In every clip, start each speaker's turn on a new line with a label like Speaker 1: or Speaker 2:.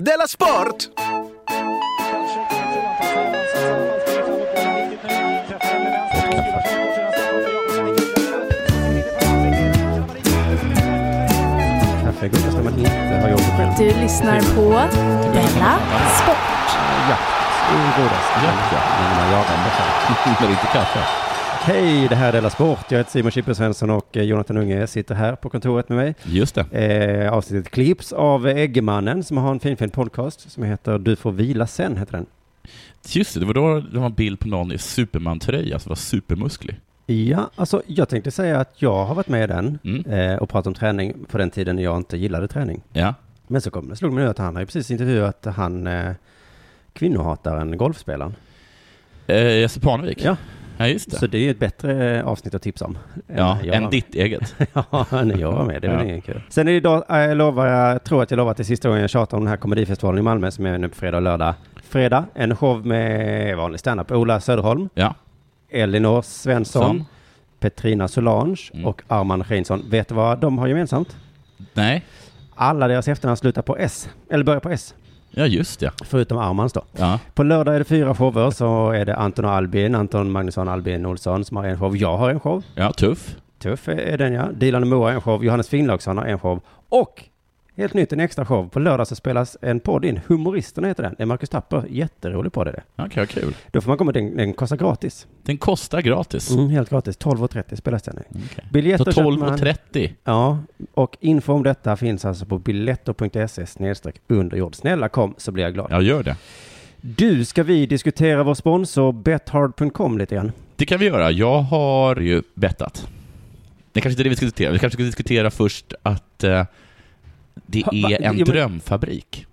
Speaker 1: Della Sport!
Speaker 2: Kanske går fast när man inte har jobbet själv.
Speaker 3: Du lyssnar på Della Sport.
Speaker 2: Jakt är godast.
Speaker 4: Jakt, ja.
Speaker 2: Men man jagar inte själv.
Speaker 4: Men inte kaffe.
Speaker 2: Hej, det här är Della Sport. Jag heter Simon Chippen Svensson och eh, Jonathan Unge sitter här på kontoret med mig.
Speaker 4: Just det.
Speaker 2: Eh, avsnittet klipps av Eggemannen som har en finfin podcast som heter Du får vila sen, heter den.
Speaker 4: Just det, det var då det var en bild på någon i Superman-tröja som var supermusklig.
Speaker 2: Ja, alltså jag tänkte säga att jag har varit med i den
Speaker 4: Mm.
Speaker 2: eh, och pratat om träning på den tiden när jag inte gillade träning.
Speaker 4: Ja.
Speaker 2: Men så kom det, slog mig nu att han har ju precis intervjuat han eh, kvinnohataren, golfspelaren.
Speaker 4: Eh, Jesse Parnevik.
Speaker 2: Ja,
Speaker 4: ja, just det.
Speaker 2: så det är ju ett bättre eh, avsnitt att tipsa om. än
Speaker 4: ja,
Speaker 2: jag
Speaker 4: än
Speaker 2: var-
Speaker 4: ditt eget.
Speaker 2: Ja, när jag var med. Det var
Speaker 4: Ja.
Speaker 2: ingen kul. Sen är det idag, eh, jag lovar, jag tror att jag lovar att det är sista gången jag tjatar om den här komedifestivalen i Malmö som är nu på fredag och lördag. Fredag, en show med vanlig standup. Ola Söderholm,
Speaker 4: Ja.
Speaker 2: Elinor Svensson,
Speaker 4: Som?
Speaker 2: Petrina Solange
Speaker 4: Mm.
Speaker 2: och Arman Reinsson. Vet du vad de har gemensamt?
Speaker 4: Nej.
Speaker 2: Alla deras efternamn slutar på S, eller börjar på S,
Speaker 4: Ja, just det.
Speaker 2: förutom Armans då.
Speaker 4: Ja.
Speaker 2: På lördag är det fyra shower, så är det Anton och Albin, Anton Magnusson, Albin Olsson som har en show. Jag har en show.
Speaker 4: ja, tuff.
Speaker 2: Tuff är- är den ja. Dilan och Moa har en show, Johannes Finnlaugsson har en show och helt nytt en extra show. På lördag så spelas en podd in, Humoristerna heter den. Det är Marcus Tapper, jätterolig podd är det.
Speaker 4: Ja, Okej, vad kul.
Speaker 2: Då får man komma, den, den kostar gratis.
Speaker 4: Den kostar gratis.
Speaker 2: Mm, helt gratis, 12.30 spelas den. nu.
Speaker 4: Okej. Så
Speaker 2: Biljetter köper man-
Speaker 4: 12.30.
Speaker 2: Ja, och info om detta finns alltså på biletto.se snedstreck underjord. Snälla kom så blir jag glad.
Speaker 4: Ja, gör det.
Speaker 2: Du, ska vi diskutera vår sponsor bethard.com lite grann?
Speaker 4: Det kan vi göra. Jag har ju bettat. Det kanske inte är det vi ska diskutera. Vi kanske ska diskutera först att eh, det
Speaker 2: Ha, va?
Speaker 4: är en
Speaker 2: Jo, men-
Speaker 4: drömfabrik.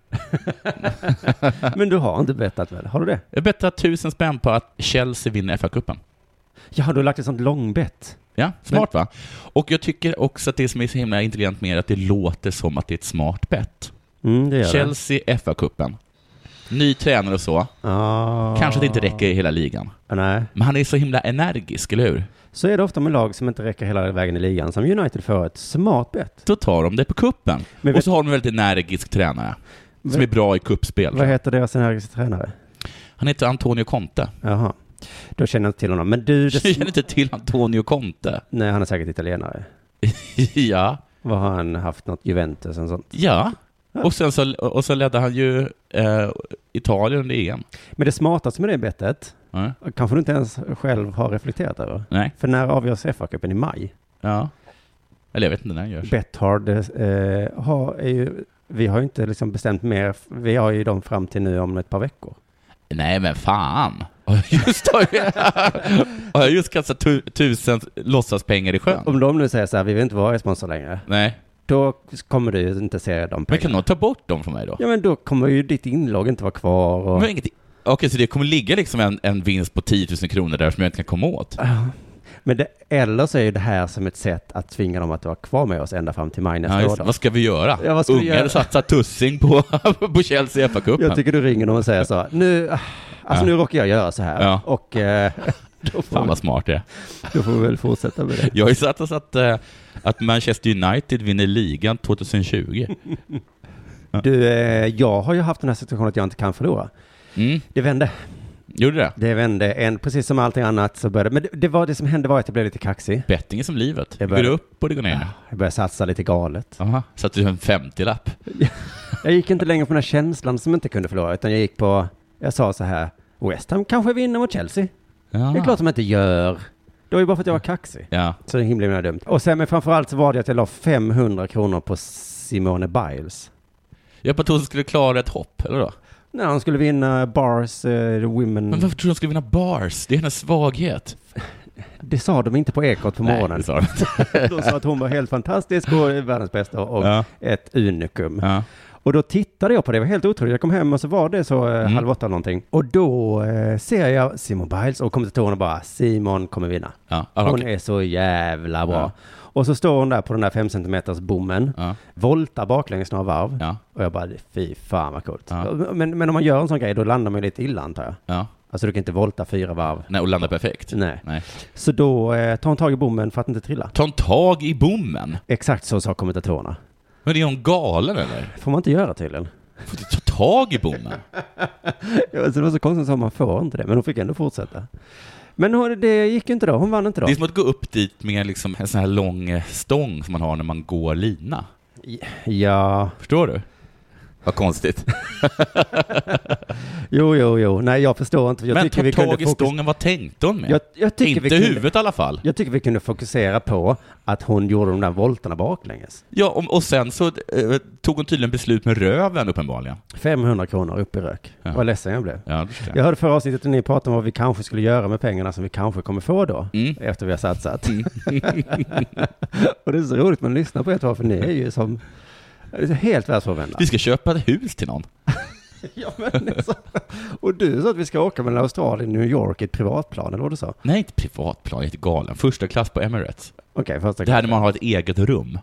Speaker 2: Men du har inte bettat väl? Har du det?
Speaker 4: Jag bettar tusen spänn på att Chelsea vinner FA-cupen.
Speaker 2: Ja, du har lagt ett sånt långbett.
Speaker 4: Ja, smart va? Och jag tycker också att det som är så himla intelligent med det är att det låter som att det är ett smart bett.
Speaker 2: Mm, det gör det.
Speaker 4: Chelsea, FA-cupen. Ny tränare och så.
Speaker 2: Ja.
Speaker 4: Kanske att det inte räcker i hela ligan.
Speaker 2: Nej,
Speaker 4: Men han är så himla energisk, eller hur?
Speaker 2: så är det ofta med lag som inte räcker hela vägen i ligan, som United får ett smart bett.
Speaker 4: Då tar de det på kuppen.
Speaker 2: Men
Speaker 4: Och
Speaker 2: vet-
Speaker 4: så har de en väldigt energisk tränare. Som är bra i kuppspel.
Speaker 2: Vad heter deras energiska tränare?
Speaker 4: Han heter Antonio Conte.
Speaker 2: Jaha, då känner jag inte till honom. Men du,
Speaker 4: Du känner
Speaker 2: det...
Speaker 4: inte till Antonio Conte?
Speaker 2: nej, han är säkert italienare.
Speaker 4: ja.
Speaker 2: Vad har han haft något Juventus och sånt?
Speaker 4: Ja. Och sen så, och så ledde han ju eh, Italien i EM.
Speaker 2: Men det smartaste med det bettet,
Speaker 4: Ja.
Speaker 2: kanske du inte ens själv har reflekterat över.
Speaker 4: Nej.
Speaker 2: För när avgörs FA-cupen i maj?
Speaker 4: Ja. Eller jag vet inte när han görs.
Speaker 2: Betthard eh, har, är ju, vi har ju inte liksom bestämt mer, vi har ju dem fram till nu om ett par veckor.
Speaker 4: Nej men fan. Har jag just, har jag, har jag just kastat tu, tusen låtsaspengar i sjön?
Speaker 2: Om de nu säger så här, vi vill inte vara er sponsor längre,
Speaker 4: Nej.
Speaker 2: då kommer du ju inte se de
Speaker 4: Men
Speaker 2: pengarna.
Speaker 4: kan någon ta bort dem från mig då?
Speaker 2: Ja men då kommer ju ditt inlogg inte vara kvar och...
Speaker 4: Men inget, okej, så det kommer ligga liksom en, en vinst på 10 000 kronor där som jag inte kan komma åt?
Speaker 2: Ah. Men det, eller så är ju det här som ett sätt att tvinga dem att vara kvar med oss ända fram till maj nästa
Speaker 4: Ja,
Speaker 2: år
Speaker 4: just,
Speaker 2: då.
Speaker 4: vad ska vi göra?
Speaker 2: Ja, vad ska vi
Speaker 4: Ungar
Speaker 2: göra?
Speaker 4: satsar tussing på, på Chelsea i
Speaker 2: Jag
Speaker 4: FA-cupen.
Speaker 2: tycker du ringer dem och säger så, nu, ah, alltså
Speaker 4: Ja.
Speaker 2: nu råkar jag göra så här
Speaker 4: Ja.
Speaker 2: och eh, då, får,
Speaker 4: Fan vad smart det är.
Speaker 2: då får vi väl fortsätta med det.
Speaker 4: Jag har ju satt oss att, eh, att Manchester United vinner ligan 2020.
Speaker 2: Du, eh, jag har ju haft den här situationen att jag inte kan förlora.
Speaker 4: Mm,
Speaker 2: Det vände.
Speaker 4: gjorde det?
Speaker 2: Det vände. En, precis som allting annat så började Men det, det, var, det som hände var att jag blev lite kaxig.
Speaker 4: Betting är som livet. Det
Speaker 2: Jag
Speaker 4: går
Speaker 2: börjar-
Speaker 4: upp och det går ner.
Speaker 2: Jag började satsa lite galet.
Speaker 4: Aha. Så att du har en 50-lapp.
Speaker 2: Jag gick inte längre på den här känslan som inte kunde förlora, utan jag gick på, jag sa så här, West Ham kanske vinner mot Chelsea. Det är klart de inte gör. Det var ju bara för att jag var kaxig.
Speaker 4: Ah. Ja.
Speaker 2: Så det är himla himla dumt. Och sen, men framförallt så var det att jag la 500 kronor på Simone Biles.
Speaker 4: Jag bara trodde hon skulle klara ett hopp, eller då?
Speaker 2: När hon skulle vinna Bars eh, Women.
Speaker 4: Men varför tror du hon skulle vinna bars? Det är hennes svaghet.
Speaker 2: Det sa de inte på Ekot på
Speaker 4: Nej,
Speaker 2: morgonen.
Speaker 4: det sa de inte.
Speaker 2: de sa att hon var helt fantastisk och världens bästa och
Speaker 4: Ja.
Speaker 2: ett unikum.
Speaker 4: Ja.
Speaker 2: Och då tittade jag på det, det var helt otroligt. Jag kom hem och så var det så eh,
Speaker 4: Mm.
Speaker 2: halv åtta någonting. Och då eh, ser jag Simon Biles och kommentatorerna bara, Simon kommer vinna.
Speaker 4: Ja.
Speaker 2: Hon
Speaker 4: Ja, Ah, okej.
Speaker 2: är så jävla bra.
Speaker 4: Ja.
Speaker 2: Och så står hon där på den där 5 cm bommen,
Speaker 4: Ja.
Speaker 2: voltar baklänges några varv.
Speaker 4: Ja.
Speaker 2: Och jag bara, fy fan vad coolt.
Speaker 4: Ja.
Speaker 2: Men, men om man gör en sån grej, då landar man ju lite illa antar jag.
Speaker 4: ja.
Speaker 2: Alltså du kan inte volta fyra varv.
Speaker 4: Nej, och landa perfekt.
Speaker 2: Nej.
Speaker 4: Nej.
Speaker 2: Så då eh, tar hon tag i bommen för att inte trilla.
Speaker 4: Ta en tag i bommen.
Speaker 2: Exakt så sa kommentatorerna.
Speaker 4: Men är hon galen eller?
Speaker 2: Får man inte göra tydligen.
Speaker 4: Får du ta tag i bommen.
Speaker 2: Ja, alltså det var så konstigt, så man får inte det, men hon fick ändå fortsätta. Men hon, det gick ju inte då, hon vann inte då.
Speaker 4: Det är som att gå upp dit med liksom en sån här lång eh, stång som man har när man går lina.
Speaker 2: Ja,
Speaker 4: Förstår du? Vad konstigt.
Speaker 2: jo, jo, jo, nej jag förstår inte. Jag
Speaker 4: Men
Speaker 2: tycker
Speaker 4: ta
Speaker 2: vi kunde
Speaker 4: tag i
Speaker 2: fokus-
Speaker 4: stången, vad tänkte hon med?
Speaker 2: Jag, jag, tycker vi
Speaker 4: Inte
Speaker 2: kunde,
Speaker 4: huvudet i alla fall.
Speaker 2: jag tycker vi kunde fokusera på att hon gjorde de där volterna baklänges.
Speaker 4: Ja, och, och sen så eh, tog hon tydligen beslut med röven uppenbarligen.
Speaker 2: 500 kronor upp i rök.
Speaker 4: Ja.
Speaker 2: Vad ledsen jag blev.
Speaker 4: Ja, det förstår
Speaker 2: Jag hörde förra avsnittet när ni pratade om vad vi kanske skulle göra med pengarna som vi kanske kommer få då.
Speaker 4: Mm.
Speaker 2: Efter vi har satsat. och det är så roligt man lyssnar på er två, för ni är ju som det är så helt världsfrånvända.
Speaker 4: Vi ska köpa ett hus till någon.
Speaker 2: ja, men det är så. Och du sa att vi ska åka mellan Australien och New York i ett privatplan, eller vad du sa? Okej,
Speaker 4: Nej, ett privatplan. Jag är helt galen. Första klass på Emirates.
Speaker 2: första
Speaker 4: Det här när
Speaker 2: klassen.
Speaker 4: man har ett eget rum.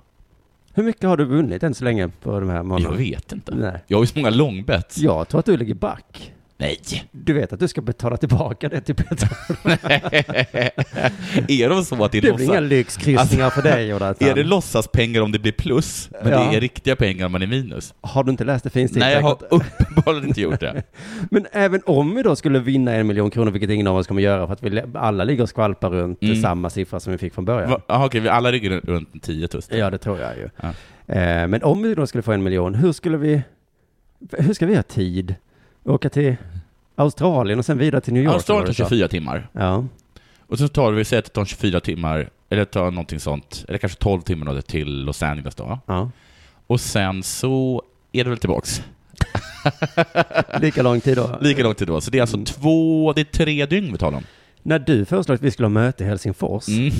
Speaker 2: Hur mycket har du vunnit än så länge på de här
Speaker 4: Jag
Speaker 2: månaderna?
Speaker 4: vet inte.
Speaker 2: Nej.
Speaker 4: Jag har ju så många långbets.
Speaker 2: Jag tror att du ligger back.
Speaker 4: Nej!
Speaker 2: Du vet att du ska betala tillbaka det till Peter.
Speaker 4: är de så att det
Speaker 2: Det blir
Speaker 4: är,
Speaker 2: inga
Speaker 4: låtsas, Alltså,
Speaker 2: lyxkryssningar för dig, Jonathan.
Speaker 4: är det låtsaspengar om det blir plus, men
Speaker 2: Ja.
Speaker 4: det är riktiga pengar om man är minus?
Speaker 2: Har du inte läst det finns
Speaker 4: Nej, jag
Speaker 2: säkert?
Speaker 4: har uppenbarligen inte gjort det.
Speaker 2: Men även om vi då skulle vinna en miljon kronor, vilket ingen av oss kommer göra, för att vi lä- alla ligger och skvalpar runt
Speaker 4: Mm.
Speaker 2: samma siffra som vi fick från början.
Speaker 4: Va- Jaha, okej, vi alla ligger runt- runt en 10 000.
Speaker 2: Ja, det tror jag ju.
Speaker 4: Ja.
Speaker 2: Eh, men om vi då skulle få en miljon, hur skulle vi, hur ska vi ha tid? Åka till Australien och sen vidare till New York?
Speaker 4: Australien
Speaker 2: eller
Speaker 4: tar
Speaker 2: vad du
Speaker 4: 24 timmar.
Speaker 2: sa? Ja,
Speaker 4: Och så tar vi, säg att det tar 24 timmar, eller tar någonting sånt, eller kanske 12 timmar då till Los Angeles då.
Speaker 2: ja.
Speaker 4: Och sen så är det väl tillbaks.
Speaker 2: Lika lång tid då.
Speaker 4: Lika lång tid då. Så det är alltså
Speaker 2: Mm.
Speaker 4: två, det är tre dygn vi talar om.
Speaker 2: När du föreslog att vi skulle ha möte i Helsingfors,
Speaker 4: Mm.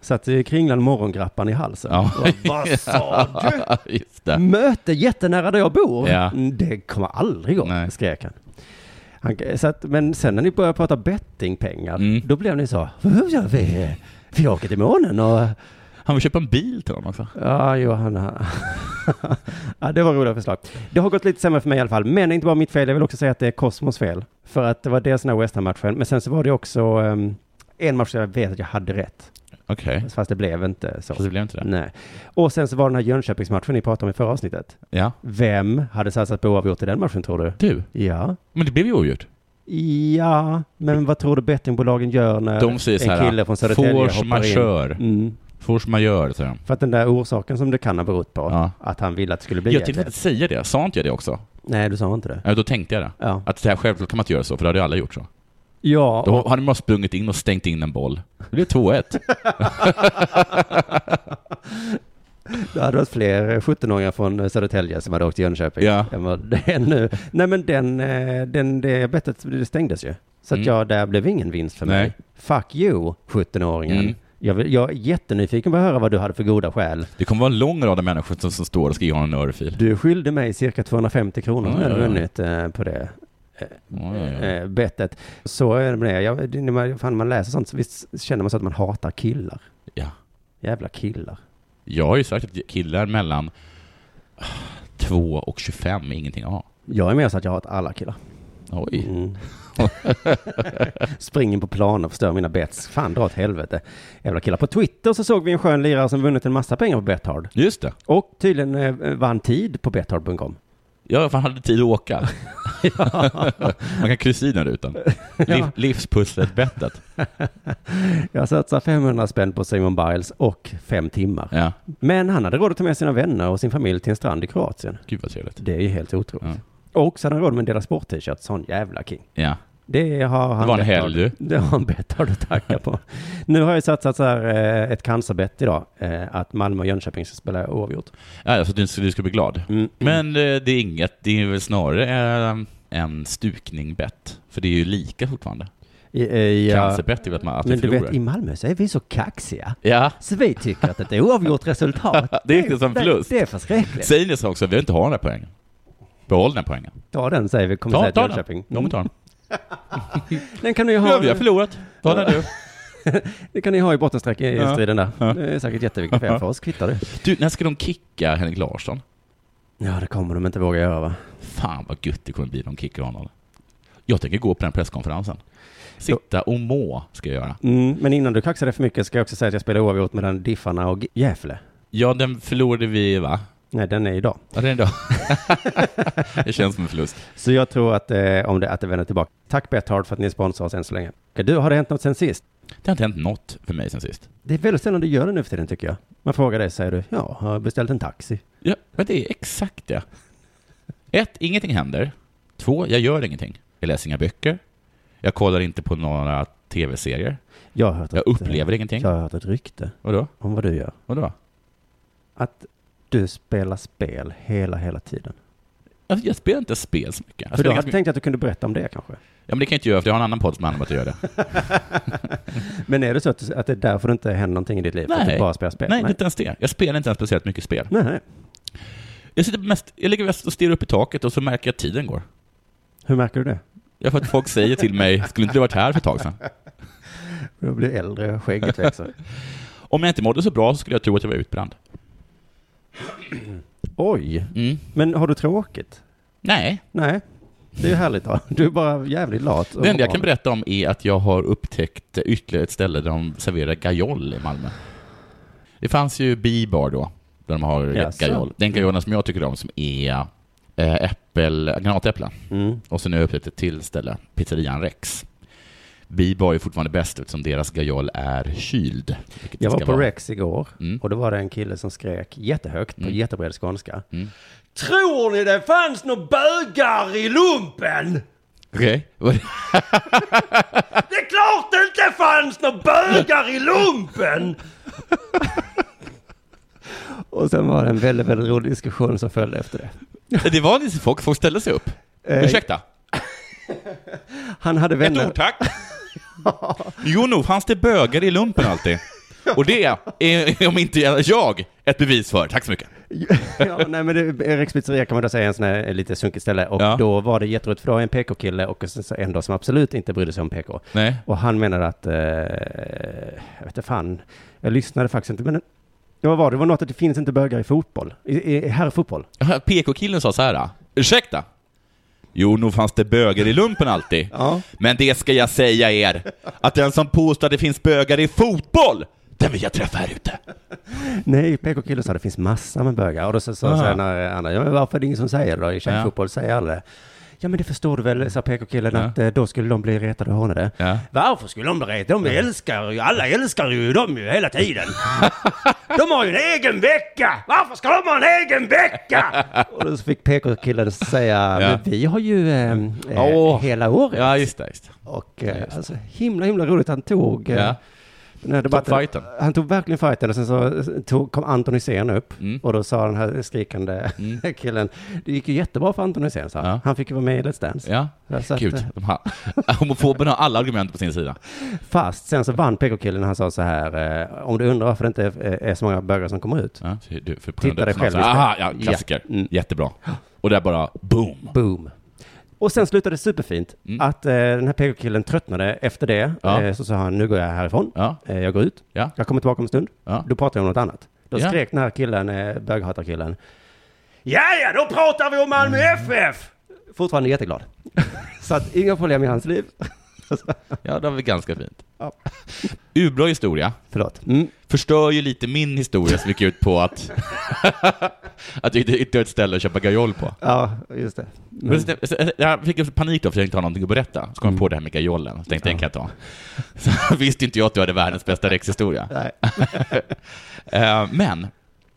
Speaker 2: satt ju kringlan morgongrappan i halsen.
Speaker 4: Ja.
Speaker 2: Och Vad sa du?
Speaker 4: Just det.
Speaker 2: Möte jättenära där jag bor.
Speaker 4: Ja.
Speaker 2: Mm, Det kommer aldrig gå,
Speaker 4: Nej.
Speaker 2: skrek han. han eh, så att, men sen när ni började prata bettingpengar,
Speaker 4: Mm.
Speaker 2: då blev ni så, "Hur gör vi? Vi åker till månen och...
Speaker 4: Han vill köpa en bil till honom också.
Speaker 2: Ja, Johanna. ja, det var roliga förslag. Det har gått lite sämre för mig i alla fall, men det är inte bara mitt fel, jag vill också säga att det är Cosmos fel. För att det var dels den här West Ham-matchen, men sen så var det också ehm, en match där jag vet att jag hade rätt,
Speaker 4: Okej.
Speaker 2: fast det blev inte så.
Speaker 4: Fast det blev inte det.
Speaker 2: Nej. Och sen så var den här Jönköpingsmatchen ni pratade om i förra avsnittet.
Speaker 4: Ja.
Speaker 2: Vem hade satsat på oavgjort i den matchen tror du?
Speaker 4: Du,
Speaker 2: Ja.
Speaker 4: men det blev ju ogjort.
Speaker 2: Ja, men vad tror du bettingbolagen gör när
Speaker 4: De säger så
Speaker 2: en kille
Speaker 4: här,
Speaker 2: från Södertälje
Speaker 4: force
Speaker 2: hoppar in?
Speaker 4: majeure.
Speaker 2: Mm.
Speaker 4: Force majeure, säger de.
Speaker 2: För att den där orsaken som det kan ha berott på,
Speaker 4: Ja.
Speaker 2: att han ville att det skulle bli
Speaker 4: Jag
Speaker 2: ett
Speaker 4: tänkte
Speaker 2: ett.
Speaker 4: inte säga det. Sa inte jag det också?
Speaker 2: Nej, du sa inte det.
Speaker 4: Ja, då tänkte jag det.
Speaker 2: Ja.
Speaker 4: Att det här självklart kan man inte göra så, för det hade ju alla gjort så.
Speaker 2: Ja,
Speaker 4: Då hade man bara sprungit in och stängt in en boll. Det blev 2-1.
Speaker 2: det hade varit fler 17-åringar från eh, Södertälje som hade åkt till Jönköping.
Speaker 4: Ja.
Speaker 2: Än vad det är nu. Nej, men den, eh, den, det bettet det stängdes ju. Så att
Speaker 4: Mm.
Speaker 2: jag, där blev ingen vinst för mig.
Speaker 4: Nej.
Speaker 2: Fuck you, 17-åringen.
Speaker 4: Mm.
Speaker 2: Jag, vill, jag är jättenyfiken på att höra vad du hade för goda skäl.
Speaker 4: Det kommer vara en lång rad av människor som, som står och ska ge honom en örfil.
Speaker 2: Du skyllde mig cirka 250 kronor när jag hade
Speaker 4: Ja, ja, ja.
Speaker 2: vunnit eh, på det
Speaker 4: Ja, ja, ja.
Speaker 2: eh, bettet. Så är det med det. Jag, det- när man, fan, man läser sånt så visst känner man så att man hatar killar.
Speaker 4: Ja.
Speaker 2: Jävla killar.
Speaker 4: Jag har ju sagt att killar mellan 2 och 25 är ingenting att ha.
Speaker 2: Jag är mer så att jag hatar alla killar.
Speaker 4: Oj.
Speaker 2: Mm. Springer på planer och förstör mina bets. Fan, dra åt helvete. Jävla killar. På Twitter så såg vi en skön lirare som vunnit en massa pengar på Bethard.
Speaker 4: Just det.
Speaker 2: Och tydligen eh, vann tid på bethard.com.
Speaker 4: Jag fan hade tid att åka. Man kan kryssa i den rutan. Liv, livspusslet-bettet.
Speaker 2: Jag satsar 500 spänn på Simon Biles och fem timmar.
Speaker 4: Ja.
Speaker 2: Men han hade råd att ta med sina vänner och sin familj till en strand i Kroatien.
Speaker 4: Gud vad trevligt.
Speaker 2: Det är ju helt otroligt. Och så hade han råd med en Dela Sport-t-shirt. Sån jävla king.
Speaker 4: Ja.
Speaker 2: Det har han
Speaker 4: var en
Speaker 2: bett
Speaker 4: helg,
Speaker 2: av- Det har han bett av att tacka på. nu har jag satsat så här eh, ett cancerbett idag. eh, Att Malmö och Jönköping ska spela oavgjort.
Speaker 4: ja alltså, du, du ska bli glad.
Speaker 2: Mm.
Speaker 4: Men eh, det är inget, det är väl snarare eh, en stukning-bett. För det är ju lika fortfarande.
Speaker 2: I, eh, i, ja,
Speaker 4: Cancerbett är väl att man
Speaker 2: Men
Speaker 4: alltid
Speaker 2: du vet,
Speaker 4: förlorar.
Speaker 2: i Malmö så är vi så kaxiga.
Speaker 4: Ja.
Speaker 2: Så vi tycker att ett oavgjort resultat.
Speaker 4: Det är inte som förlust.
Speaker 2: Det, det är förskräckligt.
Speaker 4: Säg det så också, vi vill inte ha den här poängen. Behåll den här poängen.
Speaker 2: Ta den säger vi. Kommer
Speaker 4: Ta,
Speaker 2: säga till
Speaker 4: ta den.
Speaker 2: Jönköping. Mm.
Speaker 4: De tar den.
Speaker 2: Den kan ni
Speaker 4: Ja,
Speaker 2: ha.
Speaker 4: vi har förlorat. Ta den du.
Speaker 2: Det kan ni ha i
Speaker 4: Ja.
Speaker 2: bottenstriden där.
Speaker 4: Ja.
Speaker 2: Det är säkert jätteviktigt för er. För oss kvittar det.
Speaker 4: Du, när ska de kicka Henrik Larsson?
Speaker 2: Ja, det kommer de inte våga göra va?
Speaker 4: Fan vad gött det kommer bli om de kickar honom. Jag tänker gå på den presskonferensen. Sitta och må, ska jag göra.
Speaker 2: Mm, men innan du kaxar dig för mycket ska jag också säga att jag spelar oavgjort mellan Diffarna och Gävle.
Speaker 4: Ja, den förlorade vi, va?
Speaker 2: Nej, den är idag.
Speaker 4: Ja, det är en dag. det känns som en förlust.
Speaker 2: Så jag tror att, eh, om det, att det vänder tillbaka. Tack Betthard för att ni sponsrar oss än så länge. Okej, Du, har det hänt något sen sist?
Speaker 4: Det har inte hänt något för mig sen sist.
Speaker 2: Det är väldigt sällan du gör det nu för tiden tycker jag. Man frågar dig, säger du, ja, har jag beställt en taxi?
Speaker 4: Ja, men det är exakt det. Ett, ingenting händer. Två, jag gör ingenting. Jag läser inga böcker. Jag kollar inte på några tv-serier.
Speaker 2: Jag har hört
Speaker 4: Jag
Speaker 2: ett,
Speaker 4: upplever
Speaker 2: eh,
Speaker 4: ingenting.
Speaker 2: Jag har hört ett rykte
Speaker 4: Vadå?
Speaker 2: om vad du gör.
Speaker 4: Vadå?
Speaker 2: Att du spelar spel hela, hela tiden.
Speaker 4: Jag, Alltså, jag spelar inte spel så mycket. Jag
Speaker 2: för
Speaker 4: spelar
Speaker 2: då
Speaker 4: Alltså, ganska
Speaker 2: tänkte
Speaker 4: mycket.
Speaker 2: jag att du kunde berätta om det kanske.
Speaker 4: Ja, men det kan jag inte göra, för jag har en annan podd som handlar om att jag gör det.
Speaker 2: Men är det så att, att det är därför det inte händer någonting i ditt liv? För att
Speaker 4: Nej.
Speaker 2: du bara spelar spel?
Speaker 4: Nej, inte ens det. Jag spelar inte ens speciellt mycket spel.
Speaker 2: Nej, nej.
Speaker 4: Jag, sitter mest, jag ligger mest och stirrar upp i taket och så märker jag att tiden går.
Speaker 2: Hur märker du det?
Speaker 4: Jag får att folk säger till mig, skulle inte du varit här för ett tag sedan?
Speaker 2: Jag blir äldre, skägget växer.
Speaker 4: Om jag inte mådde så bra så skulle jag tro att jag var utbränd.
Speaker 2: Oj,
Speaker 4: Mm.
Speaker 2: men har du tråkigt?
Speaker 4: Nej,
Speaker 2: Nej, det är ju härligt då. Du är bara jävligt lat. och
Speaker 4: det enda jag kan
Speaker 2: normal.
Speaker 4: berätta om är att jag har upptäckt ytterligare ett ställe där de serverar gajol i Malmö. Det fanns ju Bibar då, där de har
Speaker 2: Jaså.
Speaker 4: gajol. Den gajolen som jag tycker om som är eh, äppel, granatäpple.
Speaker 2: Mm.
Speaker 4: Och så nu har jag upptäckt ett till ställe, pizzerian Rex. Bibar är fortfarande bäst eftersom deras gajol är kyld. vilket det
Speaker 2: Jag var
Speaker 4: ska
Speaker 2: på
Speaker 4: vara.
Speaker 2: Rex igår
Speaker 4: Mm.
Speaker 2: och då var det en kille som skrek jättehögt på jättebred skånska.
Speaker 4: Mm.
Speaker 2: Tror ni det fanns några bögar i lumpen?
Speaker 4: Okej,
Speaker 2: Det är klart det inte fanns några bögar i lumpen! och sen var det en väldigt, väldigt rolig diskussion som följde efter det.
Speaker 4: det var lite folk, folk ställde sig upp. Ursäkta,
Speaker 2: Han hade
Speaker 4: ett
Speaker 2: Eh, vänner.
Speaker 4: ord tack. Jo, nog fanns det bögar i lumpen alltid. Och det är, om inte jag, ett bevis för. Tack så mycket.
Speaker 2: ja, nej men det, Rex pizzeria kan man då säga är en sån här eh, lite sunkigt ställe. Och
Speaker 4: Ja.
Speaker 2: då var det jätteroligt för då var en PK-kille och sen så en då som absolut inte brydde sig om PK.
Speaker 4: Nej.
Speaker 2: Och han menade att, eh, jag vet inte fan, jag lyssnade faktiskt inte men Ja, vad var det? Det var något att det finns inte bögar i fotboll. I, i herrfotboll.
Speaker 4: PK-killen sa så här. Ursäkta? Jo, nog fanns det bögar i lumpen alltid.
Speaker 2: Ja.
Speaker 4: Men det ska jag säga er, att den som påstår att det finns bögar i fotboll, den vill jag träffa här ute.
Speaker 2: Nej, PK-killen sa det finns massor med bögar. Och då så sa
Speaker 4: Aha.
Speaker 2: så här när andra, ja men varför är det ingen som säger det då? I tjejfotboll säger alla det. Ja men det förstår du väl, sa PK-killen,
Speaker 4: Ja.
Speaker 2: att eh, då skulle de bli retade och hånade.
Speaker 4: Ja.
Speaker 2: Varför skulle de bli retade? De älskar ju, alla älskar ju dem ju hela tiden. de har ju en egen vecka! Varför ska de ha en egen vecka? och då så fick PK-killen säga, men vi har ju eh, eh,
Speaker 4: Åh.
Speaker 2: hela året.
Speaker 4: Ja, just det. Just. det.
Speaker 2: Och eh, alltså, himla, himla roligt. Han tog eh,
Speaker 4: Ja.
Speaker 2: den här debatten.
Speaker 4: fighten.
Speaker 2: Han tog verkligen fighten och sen så eh, tog, kom Anton Hysén upp
Speaker 4: Mm.
Speaker 2: och då sa den här skrikande killen, det gick ju jättebra för Anton Hysén, sa han.
Speaker 4: Ja.
Speaker 2: Han fick ju vara med i Let's Dance.
Speaker 4: Ja.
Speaker 2: Så att,
Speaker 4: Gud,
Speaker 2: eh,
Speaker 4: de här, homofoberna har alla argument på sin sida.
Speaker 2: Fast sen så vann PK-killen, han sa så här, eh, om du undrar varför det inte eh, är, är så många bögar som kommer ut.
Speaker 4: Ja, för, du, för
Speaker 2: Titta dig själv.
Speaker 4: Aha, ja, klassiker.
Speaker 2: Ja. Mm.
Speaker 4: Jättebra. Och där bara boom.
Speaker 2: Boom. Och sen slutade det superfint att eh, den här PK-killen tröttnade efter det.
Speaker 4: Mm. Ja.
Speaker 2: Eh, så sa han, nu går jag härifrån.
Speaker 4: Ja.
Speaker 2: Eh, jag går ut.
Speaker 4: Ja.
Speaker 2: Jag kommer tillbaka om en stund.
Speaker 4: Ja.
Speaker 2: Då pratar jag om något annat. Då
Speaker 4: Ja.
Speaker 2: skrek den här killen, eh, böghatarkillen. Ja, ja, då pratar vi om Malmö
Speaker 4: Mm.
Speaker 2: FF! Fortfarande jätteglad. så att inga problem i hans liv.
Speaker 4: Ja, det var väl ganska fint.
Speaker 2: Ja.
Speaker 4: Urblå historia.
Speaker 2: Förlåt. Mm.
Speaker 4: Förstör ju lite min historia som gick ut på att, att jag hittade ytterligare ett ställe att köpa gajol på.
Speaker 2: Ja, just det. Men,
Speaker 4: Men så- så- jag fick panik då, för jag inte ha någonting att berätta. Så kom jag på det här med gajolen, så tänkte jag, den kan jag ta. Så visste inte jag att du hade världens bästa rexhistoria.
Speaker 2: nej.
Speaker 4: Eh, Men,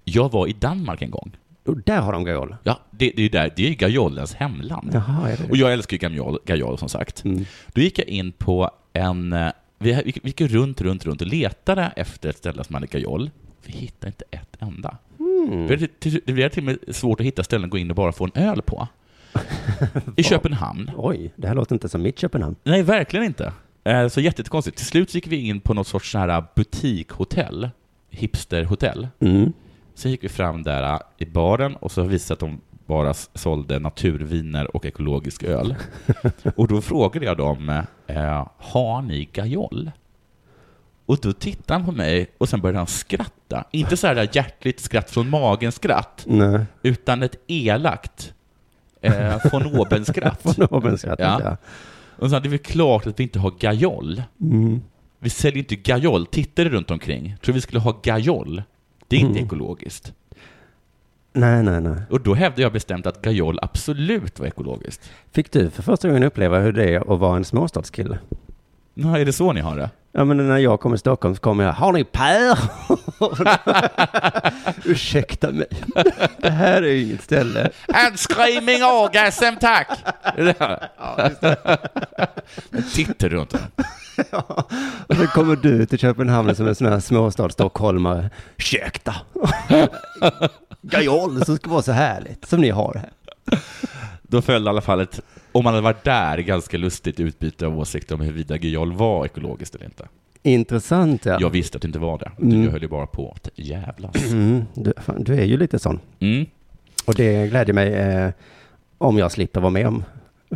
Speaker 4: jag var i Danmark en gång.
Speaker 2: Och där har de gol.
Speaker 4: Ja, det, det är ju där, det är ju gajolens hemland.
Speaker 2: Jaha, är det
Speaker 4: Och
Speaker 2: det?
Speaker 4: jag älskar ju gajol, gajol som sagt.
Speaker 2: Mm.
Speaker 4: Då gick jag in på en... eh, Vi vi gick ju runt, runt, runt och letade efter ett ställe som hade gajol. Vi hittade inte ett enda. Det blev till- det blev till och med svårt att hitta ställen att gå in och bara få en öl på. I Köpenhamn.
Speaker 2: Oj, det här låter inte som mitt Köpenhamn.
Speaker 4: Nej, verkligen inte. Eh, Så jättekonstigt. Till slut gick vi in på något sorts sån här butikhotell, hipsterhotell.
Speaker 2: Mm.
Speaker 4: Sen gick vi fram där eh, i baren och så visade att de bara s- sålde naturviner och ekologisk öl. Och då frågade jag dem, eh, har ni gajol? Och då tittade han på mig och sen började han skratta. Inte så här där hjärtligt skratt från magen-skratt,
Speaker 2: Nej,
Speaker 4: utan ett elakt eh, von oben-skratt.
Speaker 2: från Nobelskratt.
Speaker 4: Ja.
Speaker 2: Ja.
Speaker 4: Och så, det är väl klart att vi inte har gajol.
Speaker 2: Mm.
Speaker 4: Vi säljer inte Mm. gajol. Tittar du runt omkring? Tror vi skulle ha gajol? Det är inte ekologiskt.
Speaker 2: Nej, nej, nej.
Speaker 4: Och då hävdade jag bestämt att Gajol absolut var ekologiskt.
Speaker 2: Fick du för första gången uppleva hur det är att vara en småstadskille?
Speaker 4: Nå, är det så ni har det?
Speaker 2: Ja, men när jag kom till Stockholm så kom jag, har ni pär? Ursäkta mig, det här är ju inget ställe.
Speaker 4: And screaming orgasm, tack! Är det det? Men Tittar du inte?
Speaker 2: Och så kommer du till Köpenhamn som en sån här småstadsstockholmare. Ursäkta. Gajol, som ska vara så härligt som ni har här.
Speaker 4: Då följde i alla fall ett, om man hade varit där, ganska lustigt utbyte av åsikter om huruvida Gajol var ekologiskt eller inte.
Speaker 2: Intressant ja.
Speaker 4: Jag visste att det inte var det.
Speaker 2: Mm.
Speaker 4: Jag höll ju bara på att jävlas.
Speaker 2: Mm, du, fan, du är ju lite sån.
Speaker 4: Mm.
Speaker 2: Och det gläder mig eh, om jag slipper vara med om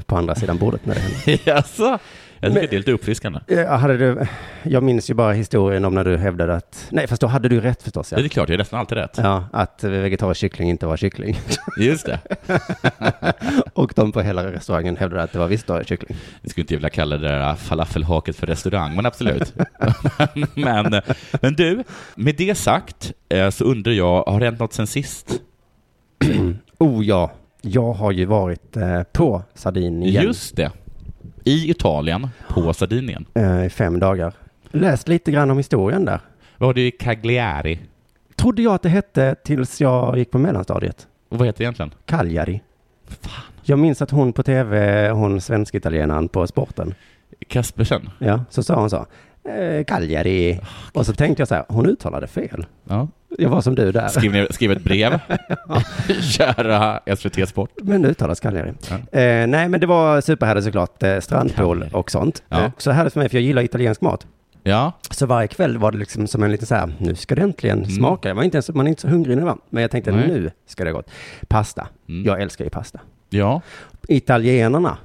Speaker 2: på andra sidan bordet när det händer.
Speaker 4: Jaså? Jag tycker
Speaker 2: Men-
Speaker 4: det är lite uppfriskande.
Speaker 2: Eh, Hade du, jag minns ju bara historien om när du hävdade att, nej fast då hade du rätt förstås
Speaker 4: Det
Speaker 2: ja.
Speaker 4: är klart, jag är nästan alltid rätt.
Speaker 2: Ja, att vegetarisk kyckling inte var kyckling.
Speaker 4: Just det.
Speaker 2: Och de på hela restaurangen hävdade att det var visst var kyckling.
Speaker 4: Jag skulle inte vilja kalla det där falafelhaket för restaurang, men absolut. men, men du, med det sagt eh, så undrar jag, har det hänt något sen sist?
Speaker 2: Oh ja, jag har ju varit eh, på Sardinien
Speaker 4: Just det. I Italien, på Sardinien.
Speaker 2: eh, i fem dagar. Läst lite grann om historien där.
Speaker 4: Var du i Cagliari?
Speaker 2: Trodde jag att det hette tills jag gick på mellanstadiet.
Speaker 4: Och vad heter det egentligen?
Speaker 2: Cagliari. Jag minns att hon på tv, hon svensk-italienaren på sporten,
Speaker 4: Kaspersen?
Speaker 2: ja, så sa hon så. Eh, Cagliari. Och så tänkte jag så här, hon uttalade fel.
Speaker 4: Ja.
Speaker 2: Jag var som du där.
Speaker 4: Skriv, ner- skriv ett brev. Kära SVT Sport.
Speaker 2: Men det uttalas Cagliari.
Speaker 4: Ja.
Speaker 2: Eh, nej, men det var superhärligt såklart. Eh, strandpool
Speaker 4: Cagliari.
Speaker 2: och sånt.
Speaker 4: Ja.
Speaker 2: Eh, så härligt för mig, för jag gillar italiensk mat.
Speaker 4: Ja,
Speaker 2: Så varje kväll var det liksom som en liten så här, nu ska det äntligen smaka. Jag var inte ens, man är inte så hungrig nu va? Men jag tänkte,
Speaker 4: Mm. Nej.
Speaker 2: nu ska det gott. Pasta.
Speaker 4: Mm.
Speaker 2: Jag älskar ju pasta.
Speaker 4: ja.
Speaker 2: Italienarna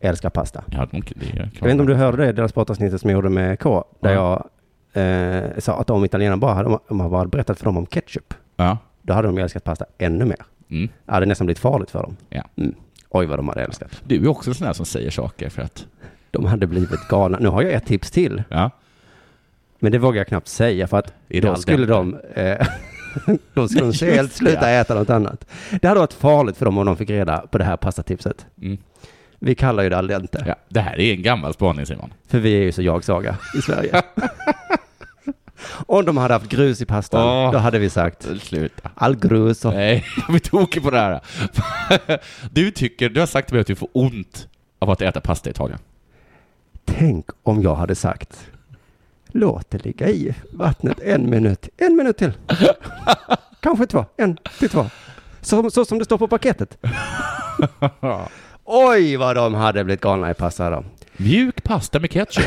Speaker 2: älskar pasta.
Speaker 4: ja de- det är klart.
Speaker 2: Jag vet inte om du hörde det, deras sportavsnittet som jag gjorde med K, där jag eh, sa att om italienarna bara hade, om man bara hade berättat för dem om ketchup,
Speaker 4: Ja.
Speaker 2: då hade de älskat pasta ännu mer.
Speaker 4: Mm.
Speaker 2: Det hade nästan blivit farligt för dem.
Speaker 4: Ja.
Speaker 2: Mm. Oj, vad de hade älskat.
Speaker 4: Du är också en sån här som säger saker för att...
Speaker 2: De hade blivit galna. Nu har jag ett tips till,
Speaker 4: Ja.
Speaker 2: men det vågar jag knappt säga för att
Speaker 4: Är det
Speaker 2: då
Speaker 4: al
Speaker 2: skulle de... Eh, då skulle
Speaker 4: Nej,
Speaker 2: de
Speaker 4: just
Speaker 2: helt sluta
Speaker 4: det.
Speaker 2: äta något annat. Det hade varit farligt för dem om de fick reda på det här pastatipset.
Speaker 4: Mm.
Speaker 2: Vi kallar ju det al dente,
Speaker 4: Ja. Det här är en gammal spaning Simon.
Speaker 2: för vi är ju så jag-saga i Sverige. om de hade haft grus i pastan,
Speaker 4: Åh.
Speaker 2: då hade vi sagt
Speaker 4: Sluta.
Speaker 2: all grus och...
Speaker 4: Nej, jag blir tokig på det här. Du tycker, du har sagt till mig att du får ont av att äta pasta i Italien.
Speaker 2: Tänk om jag hade sagt låt det ligga i vattnet en minut, en minut till. Kanske två, en till två. Så, så som det står på paketet. Oj, vad de hade blivit galna i pasta då.
Speaker 4: Mjuk pasta med ketchup.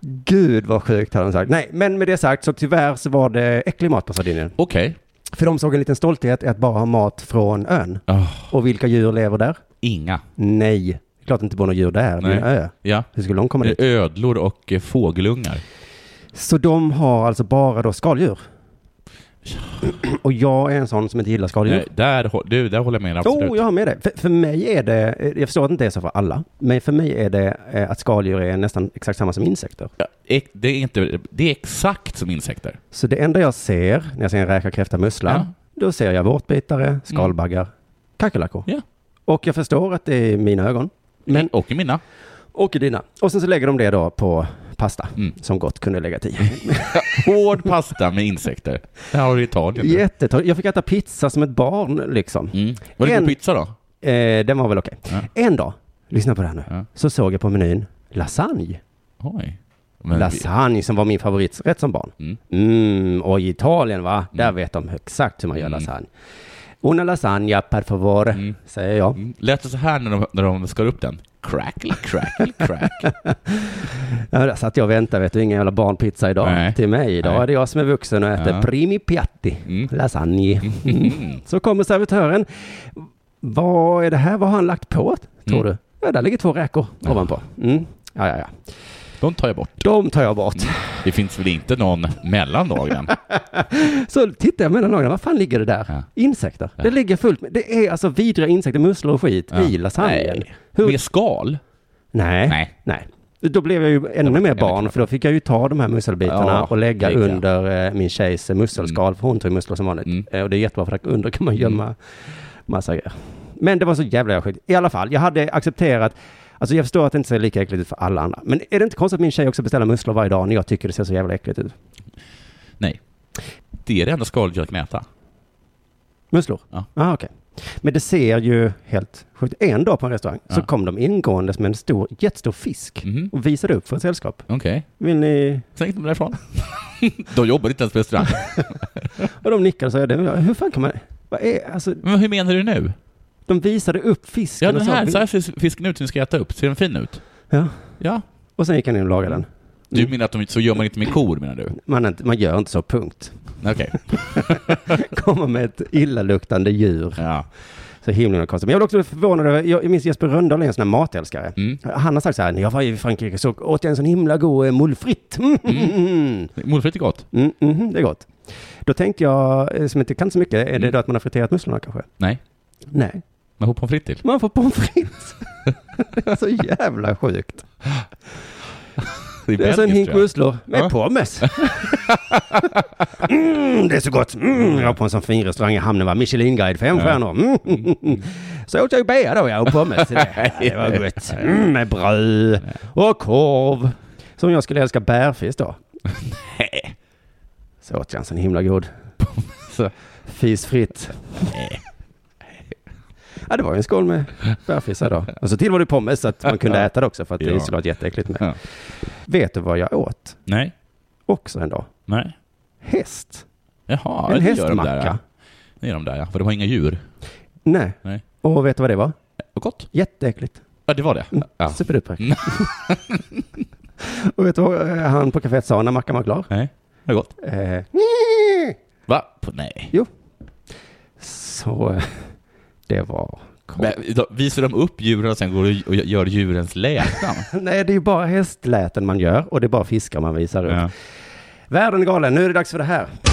Speaker 2: Gud vad sjukt hade de sagt. Nej, men med det sagt så tyvärr så var det äcklig mat på Sardinien.
Speaker 4: Okej.
Speaker 2: För de såg en liten stolthet i att bara ha mat från ön.
Speaker 4: Ah,
Speaker 2: Och vilka djur lever där?
Speaker 4: inga.
Speaker 2: Nej, klart det inte bor några djur där. Det är en
Speaker 4: Nej.
Speaker 2: ö.
Speaker 4: Ja.
Speaker 2: Hur skulle de komma dit?
Speaker 4: Det är ödlor och eh, fågelungar.
Speaker 2: Så de har alltså bara då skaldjur. Och jag är en sån som inte gillar skaldjur.
Speaker 4: Nej, där, hå- du, där håller jag med dig absolut.
Speaker 2: Oh, jag har med det. För, för mig är det, eh, jag förstår att det inte är så för alla, men för mig är det eh, att skaldjur är nästan exakt samma som insekter.
Speaker 4: Ja, ek- Det är, inte, det är exakt som insekter.
Speaker 2: Så det enda jag ser när jag ser en räka, kräfta, mussla,
Speaker 4: Ja. Mm.
Speaker 2: då ser jag vårtbitare, skalbaggar, kackerlackor.
Speaker 4: Ja.
Speaker 2: Och jag förstår att det är mina ögon. Men,
Speaker 4: Och i mina.
Speaker 2: och i dina. Och sen så lägger de det då på pasta,
Speaker 4: Mm.
Speaker 2: som gott kunde lägga till.
Speaker 4: Hård pasta med insekter. Det här har du i Italien. du.
Speaker 2: Jättetorr. Jag fick äta pizza som ett barn liksom.
Speaker 4: Mm. Var det
Speaker 2: En-
Speaker 4: god pizza då?
Speaker 2: Eh, den var väl okej.
Speaker 4: Ja.
Speaker 2: En dag, lyssna på det här nu,
Speaker 4: Ja.
Speaker 2: så såg jag på menyn lasagne.
Speaker 4: Oj. Men vi-
Speaker 2: Lasagne som var min favoriträtt som barn.
Speaker 4: Mm.
Speaker 2: Mm, och i Italien va, där vet de exakt hur man gör
Speaker 4: Mm.
Speaker 2: lasagne. Una lasagna per favore,
Speaker 4: Mm.
Speaker 2: säger jag.
Speaker 4: Mm. Lät det så här när de, när de skar upp den? Crackle, crackle, crackle.
Speaker 2: Ja, där satt jag och väntade, vet du, ingen jävla barnpizza idag
Speaker 4: Nej.
Speaker 2: till mig. Idag
Speaker 4: Nej.
Speaker 2: är det jag som är vuxen och äter
Speaker 4: Ja.
Speaker 2: primi piatti,
Speaker 4: Mm.
Speaker 2: lasagne.
Speaker 4: Mm.
Speaker 2: Så kommer servitören. Vad är det här? Vad har han lagt på, tror
Speaker 4: Mm.
Speaker 2: du? Ja, där ligger två räkor
Speaker 4: Ja.
Speaker 2: ovanpå. Mm. Ja, ja, ja.
Speaker 4: De tar jag bort.
Speaker 2: De tar jag bort.
Speaker 4: Det finns väl inte någon mellan dagen?
Speaker 2: Så tittar jag mellan lagarna, vad fan ligger det där?
Speaker 4: Ja.
Speaker 2: Insekter.
Speaker 4: Ja.
Speaker 2: Det ligger fullt med. Det är alltså vidriga insekter, musslor och skit
Speaker 4: Ja.
Speaker 2: i lasagnen.
Speaker 4: Nej.
Speaker 2: Hur?
Speaker 4: Med skal?
Speaker 2: Nej.
Speaker 4: Nej.
Speaker 2: Nej. Då blev jag ju ännu
Speaker 4: var
Speaker 2: mer
Speaker 4: en
Speaker 2: barn,
Speaker 4: knapp.
Speaker 2: för då fick jag ju ta de här musselbitarna
Speaker 4: Ja,
Speaker 2: och lägga
Speaker 4: lägga.
Speaker 2: under eh, min tjejs musselskal, för hon tog ju musslor som vanligt.
Speaker 4: Mm.
Speaker 2: Eh, och det är jättebra, för där under kan man gömma massa grejer. Men det var så jävla jävla skit. I alla fall, jag hade accepterat, alltså jag förstår att det inte ser lika äckligt ut för alla andra, men är det inte konstigt att min tjej också beställer musslor varje dag när jag tycker det ser så jävla äckligt ut?
Speaker 4: Nej. Det är det enda skaldjur jag kan äta.
Speaker 2: Musslor?
Speaker 4: Ja.
Speaker 2: Ah, okej. Men det ser ju helt sjukt. En dag på en restaurang så
Speaker 4: Ja.
Speaker 2: kom de ingåendes med en stor, jättestor fisk
Speaker 4: Mhm.
Speaker 2: och visade upp för ett sällskap.
Speaker 4: Okej.
Speaker 2: Vill ni?
Speaker 4: Sen gick de därifrån. de jobbar inte ens på restaurang.
Speaker 2: Och de nickade och sa, "Ja, det- hur fan kan man? Vad är, alltså,
Speaker 4: Men hur menar du nu?
Speaker 2: de visade upp fisken
Speaker 4: Ja, den här,
Speaker 2: och
Speaker 4: så
Speaker 2: sa,
Speaker 4: här ser fisken ut som ska äta upp. Ser den fin ut?
Speaker 2: ja.
Speaker 4: Ja. Mm.
Speaker 2: Och sen gick han in och lagade den.
Speaker 4: Du menar att de, så gör man inte med kor, menar du?
Speaker 2: Man, är inte- man gör inte så, punkt.
Speaker 4: Okej.
Speaker 2: Kommer med ett illaluktande djur.
Speaker 4: Ja.
Speaker 2: Så himla konstigt. Men jag blev också förvånad över, jag minns Jesper Rönndahl är en sån här matälskare.
Speaker 4: Mm.
Speaker 2: Han har sagt så här, när jag var i Frankrike så åt jag en sån himla god eh, moules frites. Mm.
Speaker 4: Molfritt är gott.
Speaker 2: Mm, mhm, det är gott. Då tänkte jag, eh, som inte kan så mycket, är det
Speaker 4: Mm.
Speaker 2: då att man har friterat musslorna kanske?
Speaker 4: Nej.
Speaker 2: Nej,
Speaker 4: Men hon pommes frites till.
Speaker 2: man får pommes frites. det är så jävla sjukt.
Speaker 4: Det är
Speaker 2: Det är alltså en hink
Speaker 4: belgiskt, tror jag.
Speaker 2: musslor med
Speaker 4: Ja.
Speaker 2: pommes. mm, det är så gott. Mm, jag var på en sån fin restaurang i hamnen, var Michelin-guide, fem
Speaker 4: Ja.
Speaker 2: stjärnor. Mm. Så åt jag ju bea då, ja, och pommes till det. Ja, Det var gott. Mm, med bröd och korv. Som jag skulle älska bärfisk då.
Speaker 4: Nej.
Speaker 2: Så åt jag en sån himla god.
Speaker 4: Så.
Speaker 2: Fisfritt. Ja, det var ju en skål med bärfisar då. Och så till var det pommes så att man kunde äta det också för att det är
Speaker 4: Ja.
Speaker 2: såklart jätteäckligt med.
Speaker 4: Ja.
Speaker 2: Vet du vad jag åt
Speaker 4: Nej.
Speaker 2: också en dag?
Speaker 4: Nej.
Speaker 2: Häst.
Speaker 4: Jaha,
Speaker 2: en
Speaker 4: det gör de där.
Speaker 2: hästmacka.
Speaker 4: ja. Det gör de där, ja. För de har inga djur.
Speaker 2: Nej.
Speaker 4: Nej.
Speaker 2: Och vet du vad det var?
Speaker 4: Och gott.
Speaker 2: Jätteäckligt.
Speaker 4: Ja, det var det. Mm. Ja.
Speaker 2: Superduper. Och vet du vad eh, han på kaféet sa när mackan var klar?
Speaker 4: Nej. Det var gott.
Speaker 2: Eh,
Speaker 4: Va? På, nej.
Speaker 2: så eh, det var
Speaker 4: Men,
Speaker 2: konstigt.
Speaker 4: då visar de upp djuren och sen går och och gör djurens lätan?
Speaker 2: Nej, det är ju bara hästläten man gör och det är bara fiskar man visar upp.
Speaker 4: ja.
Speaker 2: Världen är galen, nu är det dags för det här.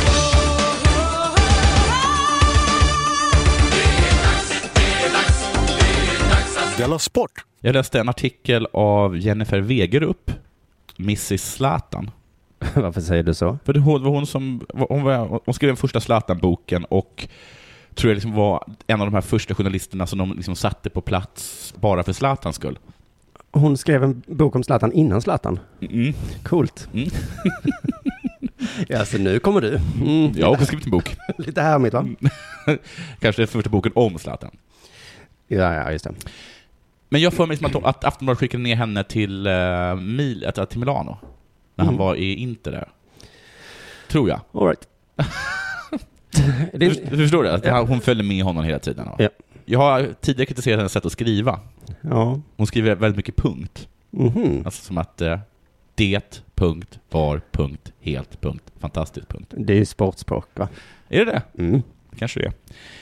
Speaker 1: Della Sport!
Speaker 4: Jag läste en artikel av Jennifer Wegerup, Mrs Zlatan.
Speaker 2: Varför säger du så?
Speaker 4: För det var hon som hon, var, hon skrev den första Zlatan-boken och tror jag liksom var en av de här första journalisterna som de liksom satte på plats bara för Zlatans skull.
Speaker 2: Hon skrev en bok om Zlatan innan Zlatan.
Speaker 4: Mm.
Speaker 2: Coolt.
Speaker 4: Mm.
Speaker 2: ja, så nu kommer du. Mm.
Speaker 4: Jag har också skrivit en bok.
Speaker 2: Lite härmigt va?
Speaker 4: Kanske den första boken om Zlatan.
Speaker 2: Ja, ja, just det.
Speaker 4: Men jag får mig liksom att, att Aftonbladet skickade ner henne till, eh, Mil, äh, till Milano. När han
Speaker 2: Mm.
Speaker 4: var i Inter där. Tror jag.
Speaker 2: All right. det
Speaker 4: Du,
Speaker 2: är,
Speaker 4: du förstår det? Att
Speaker 2: Ja.
Speaker 4: Hon följde med honom hela tiden. va?
Speaker 2: Ja.
Speaker 4: Jag har tidigare kritiserat hennes sätt att skriva.
Speaker 2: ja.
Speaker 4: Hon skriver väldigt mycket punkt.
Speaker 2: Mhm.
Speaker 4: Alltså som att eh, det, punkt, var, punkt, helt, punkt, fantastiskt, punkt.
Speaker 2: Det är ju sportspråk va?
Speaker 4: Är det det?
Speaker 2: Mm.
Speaker 4: Det kanske det är.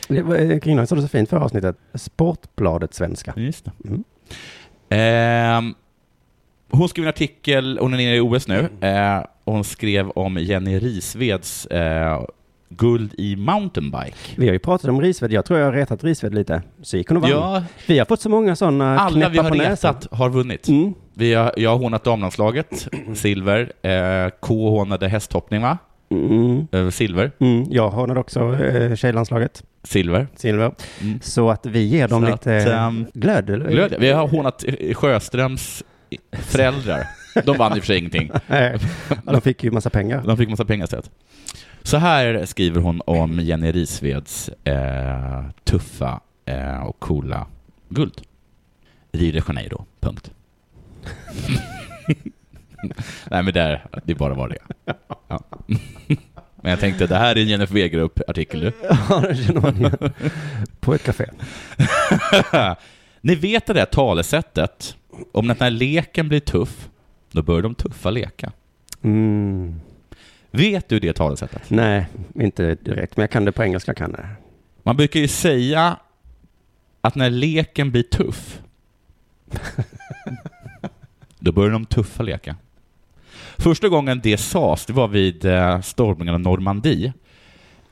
Speaker 2: Det var, eh, Kringlan sa det så fint förra avsnittet. Sportbladet svenska.
Speaker 4: Just det.
Speaker 2: Mm.
Speaker 4: Ehm, hon skrev en artikel, hon är nere i OS nu,
Speaker 2: Mm.
Speaker 4: eh, och hon skrev om Jenny Risveds eh, guld i mountainbike.
Speaker 2: Vi har ju pratat om Risved. Jag tror jag har retat Risved lite. Så gick hon och vann.
Speaker 4: Ja,
Speaker 2: Vi har fått så många sådana
Speaker 4: alla vi
Speaker 2: knäppar
Speaker 4: har
Speaker 2: på näsan.
Speaker 4: retat har vunnit.
Speaker 2: Mm.
Speaker 4: Vi har, jag har hånat damlandslaget, silver. Eh, K hånade hästhoppning, va?
Speaker 2: Mm.
Speaker 4: Eh, silver.
Speaker 2: Mm. Jag hånade också eh, tjejlandslaget.
Speaker 4: Silver.
Speaker 2: silver.
Speaker 4: Mm.
Speaker 2: Så att vi ger dem
Speaker 4: Så
Speaker 2: lite
Speaker 4: att, ehm,
Speaker 2: glöd. eller?
Speaker 4: Glöd. Vi har hånat eh, Sjöströms föräldrar. De vann i och för sig ingenting.
Speaker 2: Nej, de fick ju massa pengar.
Speaker 4: De fick massa pengar istället. Så här skriver hon om Jenny Risveds eh, tuffa eh, och coola guld. Rio de Janeiro, punkt. Nej men där, det bara var det. Ja. men jag tänkte, det här är en Jennifer Wegerup-artikel du.
Speaker 2: Ja, det känner man ju. På ett café.
Speaker 4: Ni vet det där talesättet, om att när leken blir tuff, då börjar de tuffa leka.
Speaker 2: Mm.
Speaker 4: Vet du det talesättet?
Speaker 2: Nej, inte direkt. Men jag kan det på engelska. Kan det.
Speaker 4: Man brukar ju säga att när leken blir tuff, då börjar de tuffa leka. Första gången det sades, det var vid eh, stormningen av Normandie.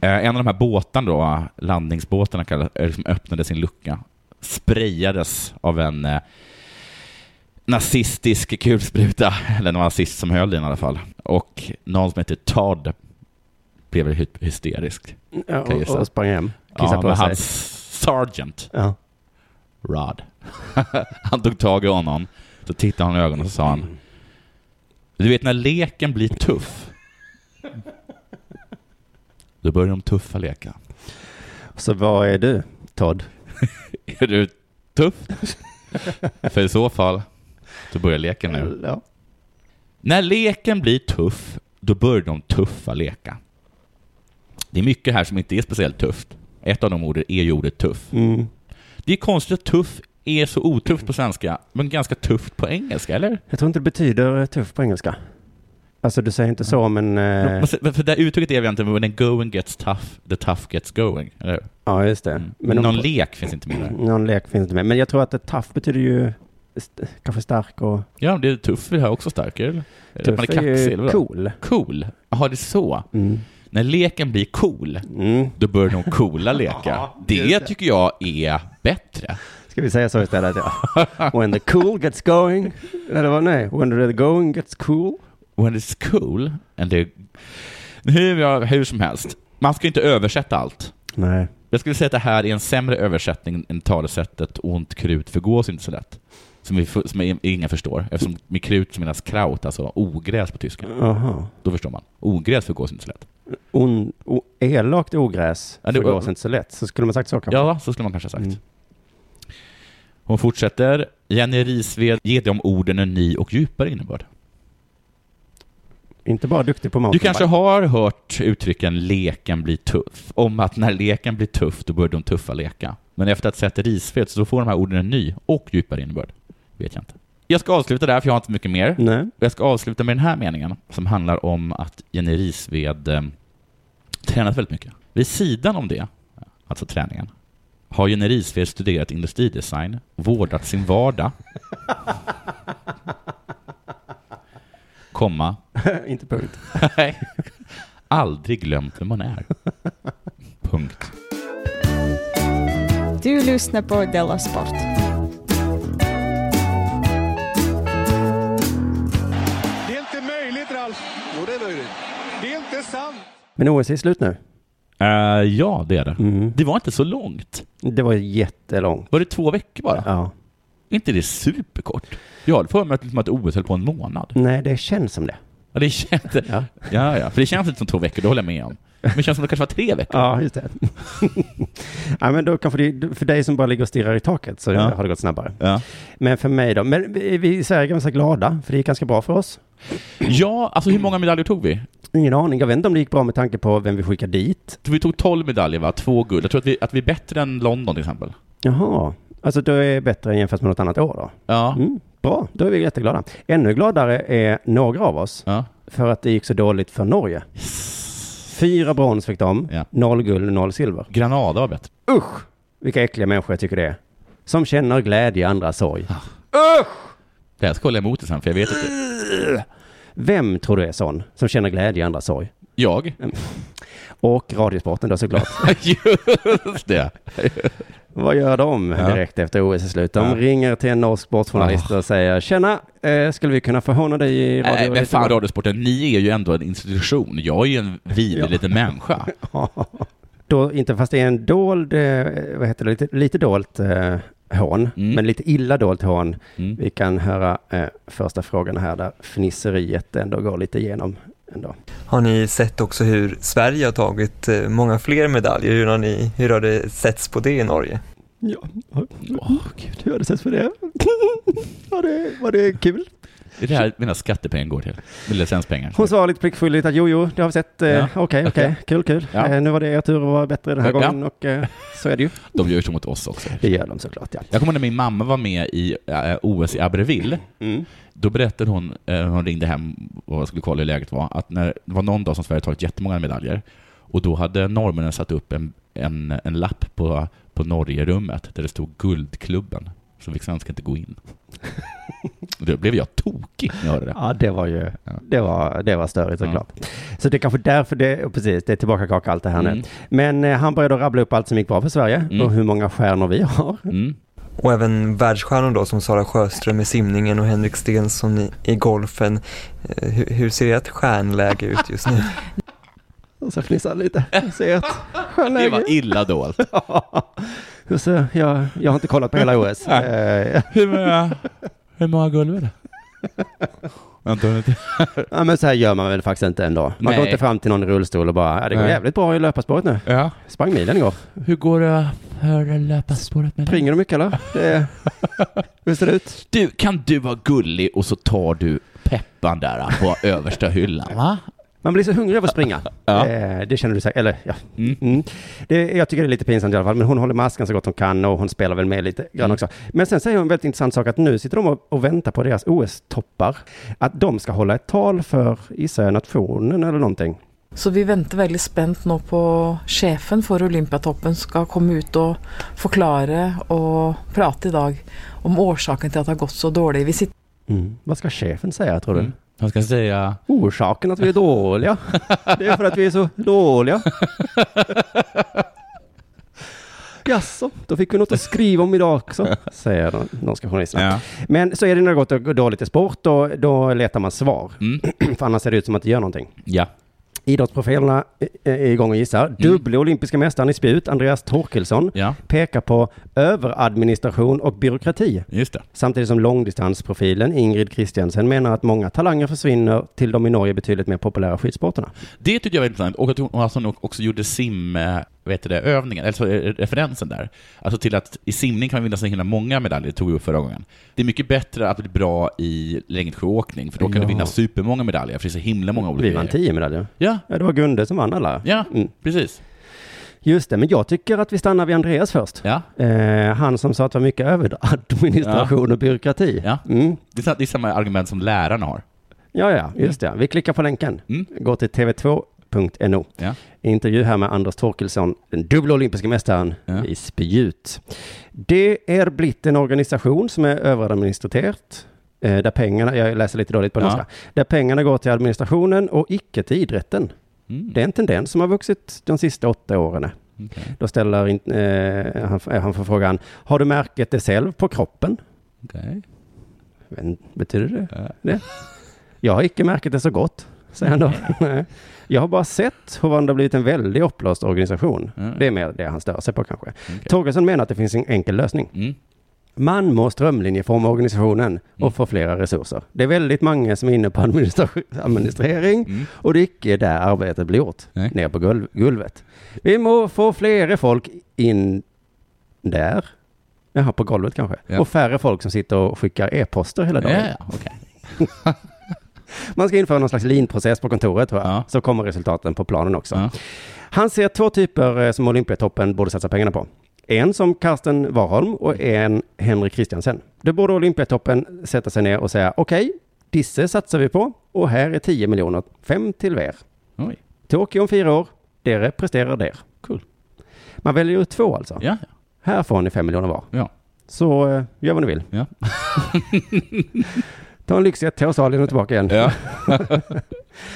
Speaker 4: Eh, En av de här båtarna då, landningsbåtarna kallas, eh, liksom öppnade sin lucka, sprayades av en eh, nazistisk kulspruta, eller någon nazist som höll i den i alla fall. Och någon som heter Todd blev hy- hysterisk.
Speaker 2: Ja,
Speaker 4: Kan jag
Speaker 2: och,
Speaker 4: gissa.
Speaker 2: och sprang hem. Kissade
Speaker 4: men
Speaker 2: på sig.
Speaker 4: hans sergeant
Speaker 2: Ja.
Speaker 4: Rod. han tog tag i honom, så tittade han i ögonen och så sa han Du vet när leken blir tuff, då börjar de tuffa leka.
Speaker 2: Så vad är du, Todd?
Speaker 4: Är du tuff? För i så fall, då börjar leken nu.
Speaker 2: Ja.
Speaker 4: När leken blir tuff, då börjar de tuffa leka. Det är mycket här som inte är speciellt tufft. Ett av de orden är ju ordet tuff.
Speaker 2: Mm.
Speaker 4: Det är konstigt att tuff är så otufft på svenska, men ganska tufft på engelska, eller?
Speaker 2: Jag tror inte det betyder eh, tuff på engelska. Alltså du säger inte så men... Eh,
Speaker 4: Men se- För det här uttrycket är väl egentligen when the going gets tough, the tough gets going. Eller? hur?
Speaker 2: ja just det.
Speaker 4: Men
Speaker 2: om- Mm.
Speaker 4: Mm. Någon lek finns inte med där.
Speaker 2: någon lek finns inte med. Men jag tror att eh, tough betyder ju st- kanske stark och...
Speaker 4: Ja, det är tuff vi har också starkare. eller? Eller att
Speaker 2: Tuff
Speaker 4: man är kaxig, eller vadå?
Speaker 2: cool.
Speaker 4: Cool? Jaha, det är så.
Speaker 2: Mm.
Speaker 4: När leken blir cool,
Speaker 2: Mm.
Speaker 4: då börjar de coola leka. Det tycker jag är bättre.
Speaker 2: Ska vi säga så istället? Ja. When the cool gets going. Eller vad? Nej. When the going gets cool.
Speaker 4: When it's cool, and the... hur, jag, hur som helst, man ska inte översätta allt.
Speaker 2: Nej.
Speaker 4: Jag skulle säga att det här är en sämre översättning än talesättet ont krut förgås inte så lätt. Som, vi, som i- ingen förstår, eftersom med krut så menas kraut, alltså ogräs på tyska.
Speaker 2: Jaha.
Speaker 4: Då förstår man. Ogräs förgås inte så lätt.
Speaker 2: On, o, elakt ogräs
Speaker 4: Ja, det-
Speaker 2: förgås inte så lätt. Så skulle man sagt så kanske?
Speaker 4: Ja, så skulle man kanske ha sagt.
Speaker 2: Mm.
Speaker 4: Hon fortsätter. Jenny Risved ger de orden en ny och djupare innebörd.
Speaker 2: Inte bara duktig på
Speaker 4: Du
Speaker 2: mountainbike.
Speaker 4: kanske har hört uttrycken leken blir tuff, om att när leken blir tuff då börjar de tuffa leka. Men efter att ha sett Risved så får de här orden en ny och djupare innebörd. Vet jag inte. Jag ska avsluta där för jag har inte mycket mer.
Speaker 2: Nej.
Speaker 4: Och Jag ska avsluta med den här meningen som handlar om att Jenny Risved eh, tränat väldigt mycket. Vid sidan om det, alltså träningen, har Jenny Risved studerat industridesign, vårdat sin vardag, komma,
Speaker 2: inte punkt.
Speaker 4: nej, aldrig glömt vem man är. Punkt.
Speaker 5: Du lyssnar på Della Sport.
Speaker 1: Det är inte möjligt, Ralf. Jo, det är möjligt. Det är inte sant.
Speaker 2: Men OS är slut nu.
Speaker 4: Eh, ja, det är det.
Speaker 2: Mm.
Speaker 4: Det var inte så långt.
Speaker 2: Det var jättelångt.
Speaker 4: Var det två veckor bara?
Speaker 2: Ja.
Speaker 4: inte det superkort? Jag hade för mig att, liksom att OS höll på en månad.
Speaker 2: Nej, det känns som det.
Speaker 4: Ja, det känns, ja. Ja, för det känns inte som två veckor, det håller jag med om. Men det känns som det kanske var tre veckor.
Speaker 2: Ja, just det. ja, men då kanske det, för dig som bara ligger och stirrar i taket så
Speaker 4: Ja.
Speaker 2: har det gått snabbare.
Speaker 4: Ja,
Speaker 2: Men för mig då? Men vi vi i Sverige är ganska glada, för det gick ganska bra för oss.
Speaker 4: ja alltså hur många medaljer tog vi?
Speaker 2: Ingen aning. Jag vet inte om det gick bra med tanke på vem vi skickade dit.
Speaker 4: Vi tog 12 medaljer, va? Två guld. Jag tror att vi, att vi är bättre än London till exempel.
Speaker 2: Jaha. Alltså, då är det bättre jämfört med något annat år då.
Speaker 4: Ja.
Speaker 2: Mm, bra, då är vi jätteglada. Ännu gladare är några av oss
Speaker 4: ja.
Speaker 2: för att det gick så dåligt för Norge. Fyra brons fick de,
Speaker 4: Ja.
Speaker 2: noll guld, noll silver.
Speaker 4: Granada var bättre.
Speaker 2: Usch, vilka äckliga människor jag tycker det är. Som känner glädje i andras sorg.
Speaker 4: Det här ska hålla emot det sen, för jag vet inte.
Speaker 2: Vem tror du är sån som känner glädje i andras sorg?
Speaker 4: Jag?
Speaker 2: Och Radiosporten då såklart.
Speaker 4: Just det.
Speaker 2: Vad gör de direkt efter OS är slut? De
Speaker 4: Ja.
Speaker 2: ringer till en norsk sportjournalist och säger Tjena, eh, skulle vi kunna få håna dig i radio?
Speaker 4: Nej, men
Speaker 2: lite
Speaker 4: fan
Speaker 2: grann?"
Speaker 4: Radiosporten, ni är ju ändå en institution. Jag är ju en vidrig liten människa.
Speaker 2: Då, inte fast det är en dold, eh, vad heter det, lite, lite dolt eh, hån,
Speaker 4: Mm.
Speaker 2: men lite illa dolt hån.
Speaker 4: Mm.
Speaker 2: Vi kan höra eh, första frågan här där fnisseriet ändå går lite igenom. Ändå.
Speaker 6: Har ni sett också hur Sverige har tagit eh, många fler medaljer? Hur har, ni, hur har det setts på det i Norge?
Speaker 2: Ja, gud, hur har det sett för det? var, det var det kul?
Speaker 4: Det är det här mina skattepengar går till. Eller licenspengar.
Speaker 2: Hon svarade lite pliktskyldigt att jo, jo, det har vi sett. eh, Okej,
Speaker 4: Ja.
Speaker 2: okej, kul, kul.
Speaker 4: Ja.
Speaker 2: Eh, nu var det er tur att vara bättre den här
Speaker 4: Ja.
Speaker 2: gången och eh, så är det ju.
Speaker 4: De gör ju så mot oss också.
Speaker 2: Det gör de såklart, ja.
Speaker 4: Jag kommer ihåg när min mamma var med i eh, OS i Abbeville.
Speaker 2: Mm.
Speaker 4: Då berättade hon, eh, hon ringde hem och skulle kolla hur läget var, att när, det var någon dag som Sverige tagit jättemånga medaljer. Och då hade norrmännen satt upp en, en, en lapp på, på Norgerummet där det stod Guldklubben. Så fick svenskar inte gå in. Då blev jag tokig när jag hörde det.
Speaker 2: Ja, det var ju, det var, det var störigt såklart. Så det är kanske därför det, och precis, det är tillbaka kaka allt det här nu.
Speaker 4: Mm.
Speaker 2: Men eh, han började rabbla upp allt som gick bra för Sverige
Speaker 4: Mm.
Speaker 2: och hur många stjärnor vi har.
Speaker 4: Mm.
Speaker 6: Och även världsstjärnor då som Sara Sjöström i simningen och Henrik Stenson i, i golfen. Eh, Hur, hur ser ert stjärnläge ut just nu?
Speaker 2: Och så fnissar han lite. Jag ser ett
Speaker 4: Det
Speaker 2: stjärnläge.
Speaker 4: var illa dolt.
Speaker 2: Och så, jag, jag har inte kollat på hela OS. Eh,
Speaker 4: Hur många, hur många guld är det? Vänta, vänta.
Speaker 2: ja, men så här gör man väl faktiskt inte ändå. Man
Speaker 4: Nej.
Speaker 2: går inte fram till någon i rullstol och bara, ja, det går
Speaker 4: Nej.
Speaker 2: jävligt bra i löparspåret nu.
Speaker 4: Ja.
Speaker 2: Sprang milen igår.
Speaker 4: Hur går det för löparspåret med
Speaker 2: Springer du mycket eller? Det, hur ser det ut?
Speaker 4: Du, kan du vara gullig och så tar du peppan där på översta hyllan, va?
Speaker 2: Man blir så hungrig av att springa.
Speaker 4: Ja.
Speaker 2: Eh, det känner du säkert, eller ja.
Speaker 4: Mm.
Speaker 2: Mm. Det, jag tycker det är lite pinsamt i alla fall, men hon håller masken så gott hon kan och hon spelar väl med lite grann
Speaker 4: Mm.
Speaker 2: också. Men sen säger hon en väldigt intressant sak att nu sitter de och, och väntar på deras OS-toppar. Att de ska hålla ett tal för, gissar jag, nationen eller någonting.
Speaker 7: Så vi venter veldig spent nå på sjefen for Olympiatoppen skal komme ut og forklare og prate i dag om årsaken til at det har gått så dårlig. Vi sitter
Speaker 2: Mm. Vad ska chefen säga tror du?
Speaker 4: Mm. Han ska säga...
Speaker 2: Orsaken att vi är dåliga. Det är för att vi är så dåliga. Jaså, då fick vi något att skriva om idag också, säger någon- någon ska journalisterna.
Speaker 4: Ja.
Speaker 2: Men så är det när det har gått dåligt i sport, då, då letar man svar.
Speaker 4: Mm.
Speaker 2: För annars ser det ut som att det gör någonting.
Speaker 4: ja.
Speaker 2: Idrottsprofilerna är- är igång och gissar.
Speaker 4: Mm.
Speaker 2: Dubbla olympiska mästaren i spjut, Andreas Torkelsson,
Speaker 4: Ja,
Speaker 2: pekar på överadministration och byråkrati.
Speaker 4: just det.
Speaker 2: Samtidigt som långdistansprofilen Ingrid Christiansen menar att många talanger försvinner till de i Norge betydligt mer populära skidsporterna.
Speaker 4: Det tyckte jag var intressant, och att hon alltså hon också gjorde sim, eh, vad heter det, övningen, eller så, eh, referensen där. Alltså till att i simning kan man vinna så himla många medaljer, det tog vi upp förra gången. Det är mycket bättre att bli bra i längdskidåkning, för då kan du
Speaker 2: Ja.
Speaker 4: vinna supermånga medaljer, för det är så himla många olika
Speaker 2: Vi vann
Speaker 4: grejer.
Speaker 2: tio medaljer.
Speaker 4: Ja,
Speaker 2: Ja, det var Gunde som vann alla.
Speaker 4: ja,
Speaker 2: Mm.
Speaker 4: precis.
Speaker 2: Just det, men jag tycker att vi stannar vid Andreas först.
Speaker 4: Ja.
Speaker 2: Eh, han som sa att det var mycket överadministration och byråkrati.
Speaker 4: Ja.
Speaker 2: Mm.
Speaker 4: Det, är, sa- det är samma argument som lärarna har.
Speaker 2: ja, ja, just det. Vi klickar på länken.
Speaker 4: Mm.
Speaker 2: Gå till tv2.no.
Speaker 4: Ja.
Speaker 2: Intervju här med Anders Torkelsson, den dubbla olympiska mästaren
Speaker 4: Ja.
Speaker 2: i spjut. Det är blivit en organisation som är överadministrerat. eh, Där pengarna, jag läser lite dåligt på
Speaker 4: Ja.
Speaker 2: norska, där pengarna går till administrationen och icke till idrotten.
Speaker 4: Mm.
Speaker 2: Det är en tendens som har vuxit de sista åtta åren.
Speaker 4: Okej,
Speaker 2: Då ställer in, eh, han, eh, han får frågan, har du märket det själv på kroppen?
Speaker 4: okej.
Speaker 2: Men, betyder det
Speaker 4: Ja.
Speaker 2: det? Jag har icke märket det så gott, säger han då. Nej. Jag har bara sett hur det har blivit en väldigt uppblåst organisation.
Speaker 4: Mm.
Speaker 2: Det är mer det han stör sig på kanske. Okay.
Speaker 4: Okej.
Speaker 2: menar att det finns en enkel lösning.
Speaker 4: Mm.
Speaker 2: Man må strömlinjeforma organisationen och
Speaker 4: Mm.
Speaker 2: få flera resurser. Det är väldigt många som är inne på administra- administrering
Speaker 4: Mm.
Speaker 2: och det är icke där arbetet blir gjort,
Speaker 4: Nej.
Speaker 2: ner på golv- golvet. Vi må få fler folk in där, jaha, på golvet kanske,
Speaker 4: Ja.
Speaker 2: och färre folk som sitter och skickar e-poster hela
Speaker 4: Ja,
Speaker 2: dagen.
Speaker 4: ja, okej.
Speaker 2: Man ska införa någon slags linprocess på kontoret, tror jag.
Speaker 4: Ja.
Speaker 2: så kommer resultaten på planen också.
Speaker 4: Ja.
Speaker 2: Han ser två typer eh, som Olympiatoppen borde satsa pengarna på. En som Karsten Warholm och en Henrik Christiansen. Då borde Olympiatoppen sätta sig ner och säga okej, Disse satsar vi på och här är 10 miljoner, fem till er.
Speaker 4: Oj.
Speaker 2: Tokyo om fyra år, dere presterar der.
Speaker 4: Cool.
Speaker 2: Man väljer ut två alltså.
Speaker 4: Ja,
Speaker 2: Här får ni fem miljoner var.
Speaker 4: ja.
Speaker 2: Så eh, gör vad ni vill.
Speaker 4: Ja.
Speaker 2: Ta en lyxjet till Australien och tillbaka igen.
Speaker 4: ja.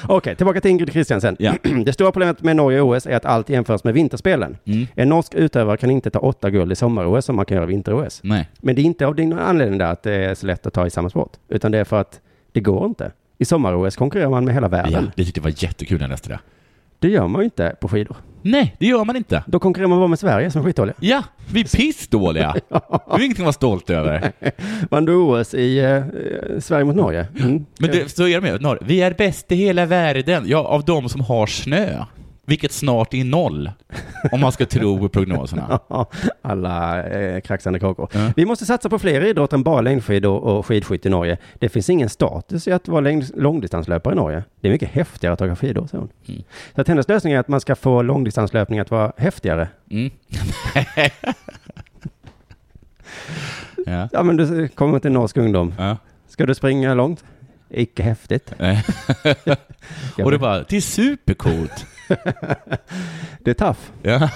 Speaker 2: Okej, tillbaka till Ingrid Christiansen.
Speaker 4: Ja.
Speaker 2: Det stora problemet med Norge och OS är att allt jämförs med vinterspelen.
Speaker 4: Mm.
Speaker 2: En norsk utövare kan inte ta åtta guld i sommar-OS som man kan göra i vinter-OS.
Speaker 4: Nej.
Speaker 2: Men det är inte av din anledning där att det är så lätt att ta i samma sport, utan det är för att det går inte. I sommar-OS konkurrerar man med hela världen.
Speaker 4: Ja, det tyckte jag var jättekul när jag läste det.
Speaker 2: Det gör man ju inte på skidor.
Speaker 4: Nej, det gör man inte.
Speaker 2: Då konkurrerar man bara med Sverige som skitolja.
Speaker 4: Ja, vi är pissdåliga. Det är ingenting att vara stolt över.
Speaker 2: Vann du OS i eh, eh, Sverige mot Norge? Mm.
Speaker 4: Men det, så är det med norr. Vi är bäst i hela världen. Ja, av de som har snö. Vilket snart är noll. Om man ska tro på prognoserna.
Speaker 2: Ja, Alla eh, kraxande kakor.
Speaker 4: Ja.
Speaker 2: Vi måste satsa på fler idrotter än bara längdskidor och skidskytte i Norge. Det finns ingen status i att vara längd- långdistanslöpare i Norge. Det är mycket häftigare att åka skidor, säger hon.
Speaker 4: Mm.
Speaker 2: Så att hennes lösning är att man ska få långdistanslöpning att vara häftigare.
Speaker 4: Mm. ja.
Speaker 2: Ja, men du kommer till norsk ungdom.
Speaker 4: ja.
Speaker 2: Ska du springa långt? Icke häftigt.
Speaker 4: Nej.
Speaker 2: Ja,
Speaker 4: Och det
Speaker 2: men
Speaker 4: bara, det är supercoolt.
Speaker 2: det är tough.
Speaker 4: Ja.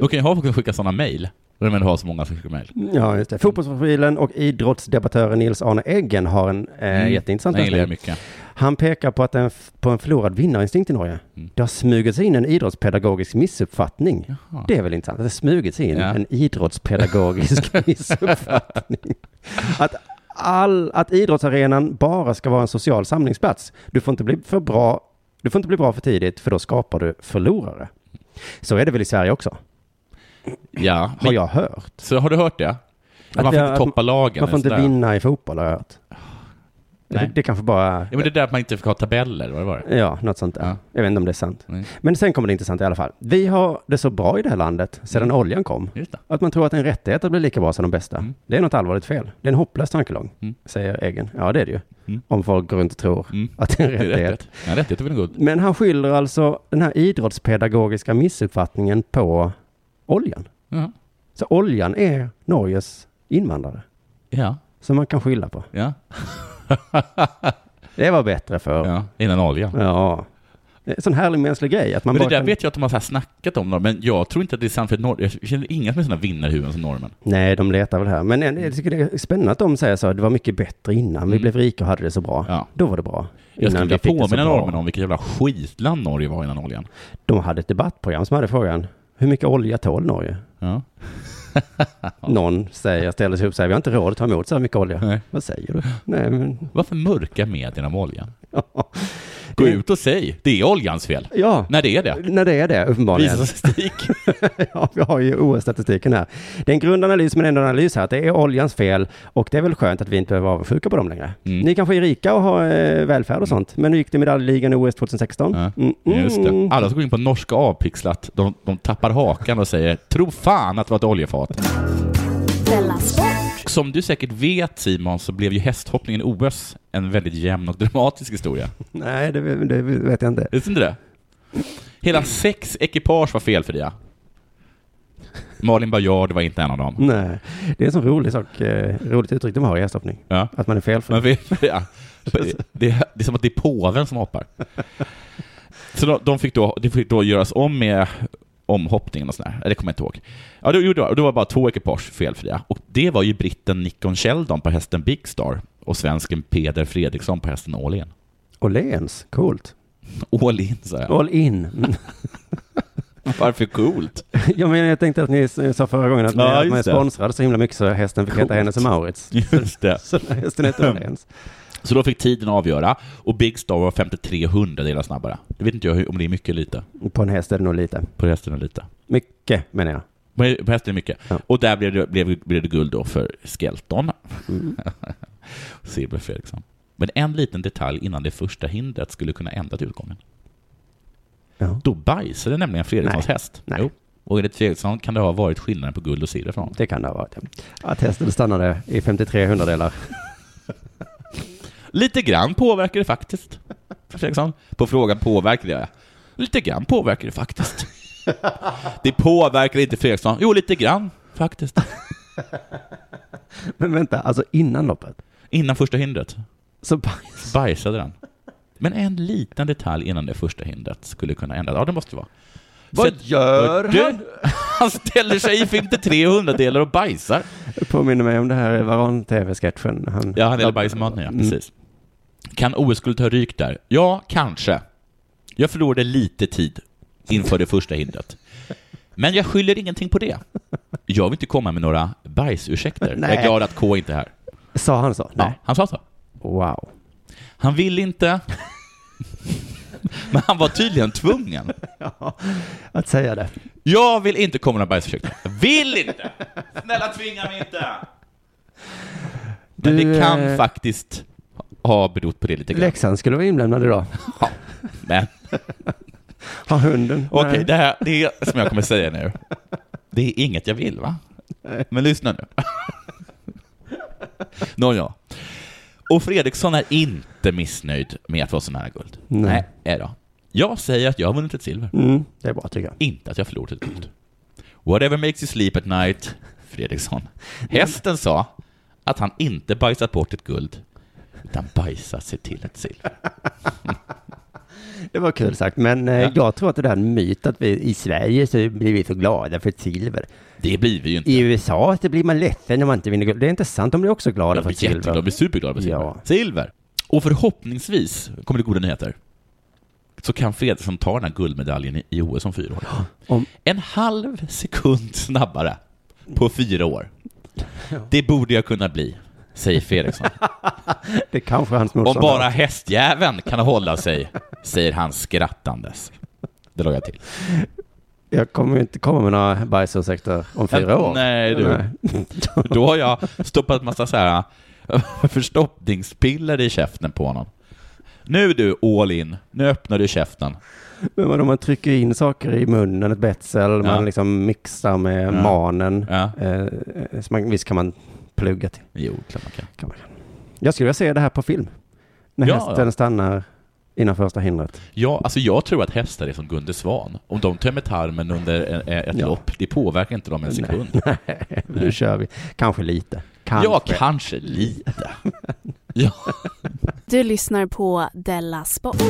Speaker 4: Då kan ju ha folk som skickar sådana mejl. Men man har så många som skickar mejl.
Speaker 2: Ja, just det. Fotbollsprofilen och idrottsdebattören Nils-Arne Eggen har en eh,
Speaker 4: Mm.
Speaker 2: jätteintressant
Speaker 4: Den gillar jag
Speaker 2: läsning.
Speaker 4: mycket.
Speaker 2: Han pekar på, att en, f- på en förlorad vinnarinstinkt i Norge.
Speaker 4: Mm.
Speaker 2: Det har smugit sig in en idrottspedagogisk missuppfattning.
Speaker 4: Jaha.
Speaker 2: Det är väl intressant, att det har smugit sig in
Speaker 4: Ja.
Speaker 2: en idrottspedagogisk missuppfattning. Att, all, att idrottsarenan bara ska vara en social samlingsplats. Du får inte bli för bra, du får inte bli bra för tidigt, för då skapar du förlorare. Så är det väl i Sverige också,
Speaker 4: Ja,
Speaker 2: har jag hört.
Speaker 4: Så har du hört det?
Speaker 2: Att
Speaker 4: man får
Speaker 2: jag-
Speaker 4: inte toppa lagen.
Speaker 2: Man får inte
Speaker 4: sådär.
Speaker 2: vinna i fotboll har jag hört.
Speaker 4: Nej.
Speaker 2: Det, det kanske bara...
Speaker 4: Ja, men det där att man inte fick ha tabeller, vad var det? Mm,
Speaker 2: Ja, något sånt där.
Speaker 4: Ja.
Speaker 2: Jag vet inte om det är sant.
Speaker 4: Nej.
Speaker 2: Men sen kommer det intressant i alla fall. Vi har det så bra i det här landet sedan
Speaker 4: Mm.
Speaker 2: oljan kom.
Speaker 4: Just det.
Speaker 2: Att man tror att en rättighet att bli lika bra som de bästa.
Speaker 4: Mm.
Speaker 2: Det är något allvarligt fel. Det är en hopplös tankelång,
Speaker 4: Mm.
Speaker 2: säger Egen. Ja, det är det ju.
Speaker 4: Mm.
Speaker 2: Om folk går runt och tror
Speaker 4: Mm.
Speaker 2: att det är en
Speaker 4: Det är
Speaker 2: rättighet.
Speaker 4: rättighet. Ja, rättighet är väl en god...
Speaker 2: Men han skyller alltså den här idrottspedagogiska missuppfattningen på oljan.
Speaker 4: Ja.
Speaker 2: Så oljan är Norges invandrare,
Speaker 4: Ja.
Speaker 2: som man kan skylla på.
Speaker 4: ja.
Speaker 2: Det var bättre för.
Speaker 4: ja. Innan oljan.
Speaker 2: Ja. Det är en sån härlig mänsklig grej. Att man
Speaker 4: Men det
Speaker 2: bara
Speaker 4: där
Speaker 2: kan...
Speaker 4: vet jag att de har så här snackat om, men jag tror inte att det är sant, för norr... jag känner inga som är sådana vinnarhuvuden som norrmän.
Speaker 2: Nej, de letar väl här. Men jag tycker det är spännande att de säger så. Det var mycket bättre innan. Vi
Speaker 4: Mm.
Speaker 2: blev rika och hade det så bra.
Speaker 4: Ja.
Speaker 2: Då var det bra.
Speaker 4: Jag skulle
Speaker 2: Innan vi
Speaker 4: vilja
Speaker 2: fick det så
Speaker 4: påminna
Speaker 2: bra.
Speaker 4: norrmän om vilket jävla skitland Norge var innan oljan.
Speaker 2: De hade ett debattprogram som hade frågan. Hur mycket olja tål Norge?
Speaker 4: Ja.
Speaker 2: Någon säger, ställer sig upp och säger, vi har inte råd att ta emot så här mycket olja.
Speaker 4: Nej.
Speaker 2: Vad säger du? Nej, men...
Speaker 4: Varför mörka medierna om oljan? Gå ut och säg, det är oljans fel.
Speaker 2: Ja,
Speaker 4: När det är det.
Speaker 2: när det är det uppenbarligen.
Speaker 4: Visa statistik.
Speaker 2: Ja, vi har ju OS-statistiken här. Det är en grundanalys, men ändå en analys här. att Det är oljans fel och det är väl skönt att vi inte behöver vara avundsjuka på dem längre.
Speaker 4: Mm.
Speaker 2: Ni kanske är rika och har eh, välfärd och sånt, men hur gick det i medaljligan i OS 2016?
Speaker 4: Ja,
Speaker 2: Mm, mm.
Speaker 4: Just det. Alla som går in på norska avpixlat, de, de tappar hakan och säger tro fan att det var ett oljefat.
Speaker 3: Della Sport.
Speaker 4: Som du säkert vet Simon så blev ju hästhoppningen i OS en väldigt jämn och dramatisk historia.
Speaker 2: Nej, det, det vet jag inte.
Speaker 4: Visste inte det? Hela sex ekipage var felfria. Malin Baryard var inte en av dem.
Speaker 2: Nej, det är en sån rolig sak, eh, roligt uttryck de har i hästhoppning.
Speaker 4: Ja.
Speaker 2: Att man är felfri.
Speaker 4: Men felfria. Det, är- det är som att det är påven som hoppar. Så de, de fick då, det fick då göras om med omhoppningen och sådär. Nej, Det kommer jag inte ihåg. Ja, det gjorde jag. Och det var bara två ekipage felfria. Och det var ju britten Nikon Sheldon på hästen Big Star och svensken Peder Fredriksson på hästen All In.
Speaker 2: Åhléns, coolt.
Speaker 4: All In, sa jag.
Speaker 2: All in. Mm.
Speaker 4: Varför coolt?
Speaker 2: Jag menar, jag tänkte att ni s- sa förra gången att ni
Speaker 4: Ja,
Speaker 2: att
Speaker 4: just
Speaker 2: man är
Speaker 4: det.
Speaker 2: sponsrad så himla mycket så hästen fick heta
Speaker 4: Coolt.
Speaker 2: Hennes och Maurits.
Speaker 4: Just det.
Speaker 2: Så hästen heter Åhléns.
Speaker 4: Så då fick tiden avgöra och Big Star var 53 hundradelar snabbare. Det vet inte jag hur- om det är mycket eller lite.
Speaker 2: På en häst är det nog lite.
Speaker 4: På hästen är det lite.
Speaker 2: Mycket, menar jag.
Speaker 4: Men På hästen är det mycket.
Speaker 2: Ja.
Speaker 4: Och där blev det, blev, blev det guld då för Skelton.
Speaker 2: Mm.
Speaker 4: Silver Fredriksson. Men en liten detalj innan det första hindret skulle kunna ändra utgången.
Speaker 2: Ja.
Speaker 4: Då bajsade nämligen Fredrikssons häst.
Speaker 2: Nej.
Speaker 4: Jo. Och enligt Fredriksson kan det ha varit skillnaden på guld och silver för honom.
Speaker 2: Det kan det ha varit. ja. Att hästen stannade i 53 hundradelar.
Speaker 4: Lite grann påverkar det faktiskt. Fredriksson. På frågan påverkar det? Lite grann påverkar det faktiskt. Det påverkar inte Fredriksson. Jo, lite grann faktiskt.
Speaker 2: Men vänta, alltså innan loppet.
Speaker 4: Innan första hindret
Speaker 2: Så bajs.
Speaker 4: bajsade den. Men en liten detalj innan det första hindret skulle kunna ändras. Ja, det måste det vara.
Speaker 2: Vad gör
Speaker 4: han? Han ställer sig i 53 hundradelar och bajsar.
Speaker 2: Det påminner mig om det här Varan-tv-sketchen. Han...
Speaker 4: Ja, han häller bajs i maten, ja.
Speaker 2: Mm.
Speaker 4: Precis. Kan OS-guld ta ryk där? Ja, kanske. Jag förlorade lite tid inför det första hindret. Men jag skyller ingenting på det. Jag vill inte komma med några bajsursäkter. Jag är
Speaker 2: Nej.
Speaker 4: glad att K inte är här.
Speaker 2: Sa han så?
Speaker 4: Ja,
Speaker 2: Nej.
Speaker 4: han sa så.
Speaker 2: Wow.
Speaker 4: Han vill inte. Men han var tydligen tvungen.
Speaker 2: Att säga det.
Speaker 4: Jag vill inte komma med några bajsursäkter. Jag Vill inte! Snälla tvinga mig inte!
Speaker 2: Du,
Speaker 4: Men det
Speaker 2: eh,
Speaker 4: kan faktiskt ha berott på det lite grann.
Speaker 2: Leksand skulle vara inblandad idag.
Speaker 4: Men
Speaker 2: Har hunden.
Speaker 4: Okej,
Speaker 2: Nej.
Speaker 4: det här det är som jag kommer säga nu. Det är inget jag vill, va? Men lyssna nu. Nåja. Och Fredriksson är inte missnöjd med att vara så nära guld.
Speaker 2: Nej.
Speaker 4: Nej då. Jag säger att jag har vunnit ett silver,
Speaker 2: Mm, det är bra tycker jag.
Speaker 4: inte att jag förlorat ett guld. Whatever makes you sleep at night, Fredriksson. Hästen sa att han inte bajsat bort ett guld, utan bajsat sig till ett silver.
Speaker 2: Det var kul sagt, men eh,
Speaker 4: Ja.
Speaker 2: jag tror att det där är en myt att vi i Sverige så blir vi för glada för silver.
Speaker 4: Det blir vi ju inte.
Speaker 2: I USA så blir man ledsen när man inte vinner guld. Det är inte sant, de blir också glada
Speaker 4: De
Speaker 2: för
Speaker 4: blir jätteglada, de
Speaker 2: silver.
Speaker 4: blir superglada för silver.
Speaker 2: Ja.
Speaker 4: Silver! Och förhoppningsvis kommer det goda nyheter. Så kan Fredriksson ta den här guldmedaljen i- i OS om fyra år.
Speaker 2: Om-
Speaker 4: En halv sekund snabbare på fyra år. Det borde jag kunna bli, säger Fredriksson.
Speaker 2: Det kanske är hans
Speaker 4: Om
Speaker 2: motståndare.
Speaker 4: bara hästjäveln kan hålla sig, säger han skrattandes. Det la jag till.
Speaker 2: Jag kommer ju inte komma med några bajsåsikter om fyra år.
Speaker 4: Nej, du. Då har jag stoppat massa så här förstoppningspiller i käften på honom. Nu du, all in. Nu öppnar du käften.
Speaker 2: Men vadå, man trycker in saker i munnen, ett betsel, man liksom mixar med manen.
Speaker 4: Ja.
Speaker 2: Eh, så man, visst kan man plugga till.
Speaker 4: Jo, klart man kan.
Speaker 2: Kan man. Jag skulle vilja se det här på film. När
Speaker 4: Ja,
Speaker 2: hästen
Speaker 4: ja.
Speaker 2: stannar innan första hindret.
Speaker 4: Ja, alltså jag tror att hästar är som Gunde Svan. Om de tömmer tarmen under en- ett
Speaker 2: Ja.
Speaker 4: lopp, det påverkar inte dem en sekund.
Speaker 2: nu kör vi. Kanske lite. Kanske.
Speaker 4: Ja, kanske lite. Ja.
Speaker 3: Du lyssnar på Della Sport.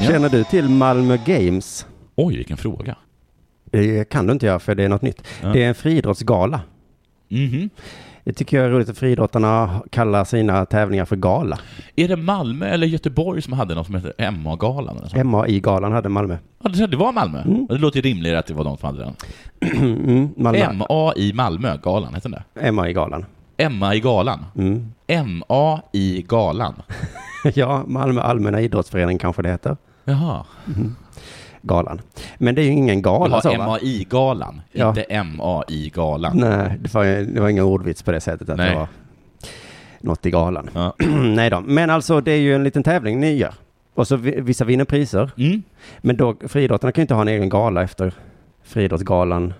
Speaker 2: Känner du till Malmö Games?
Speaker 4: Oj, vilken fråga.
Speaker 2: Det kan du inte göra för det är något nytt.
Speaker 4: Ja.
Speaker 2: Det är en friidrottsgala.
Speaker 4: Mhm.
Speaker 2: Det tycker jag är roligt att friidrottarna kallar sina tävlingar för gala.
Speaker 4: Är det Malmö eller Göteborg som hade något som heter MA-galan? Eller så?
Speaker 2: MAI-galan hade Malmö.
Speaker 4: Ja, det- det var Malmö. Det låter ju rimligare att det var de som hade den.
Speaker 2: Mm, Malmö.
Speaker 4: MA i Malmö-galan, hette den det?
Speaker 2: MAI-galan.
Speaker 4: Emma i galan.
Speaker 2: Mm.
Speaker 4: MA i galan.
Speaker 2: Ja, Malmö allmänna idrottsförening kanske det heter.
Speaker 4: Jaha.
Speaker 2: Galan. Men det är ju ingen
Speaker 4: Jag
Speaker 2: gala så
Speaker 4: har
Speaker 2: va?
Speaker 4: MA i galan,
Speaker 2: Ja.
Speaker 4: inte MA i galan.
Speaker 2: Nej, det var, det var ingen ordvits på det sättet att
Speaker 4: Nej.
Speaker 2: det var något i galan.
Speaker 4: Ja.
Speaker 2: Nej då, men alltså det är ju en liten tävling ni gör. Och så vi- vissa vinner priser.
Speaker 4: Mm.
Speaker 2: Men då, friidrottarna kan ju inte ha en egen gala efter friidrottsgalan.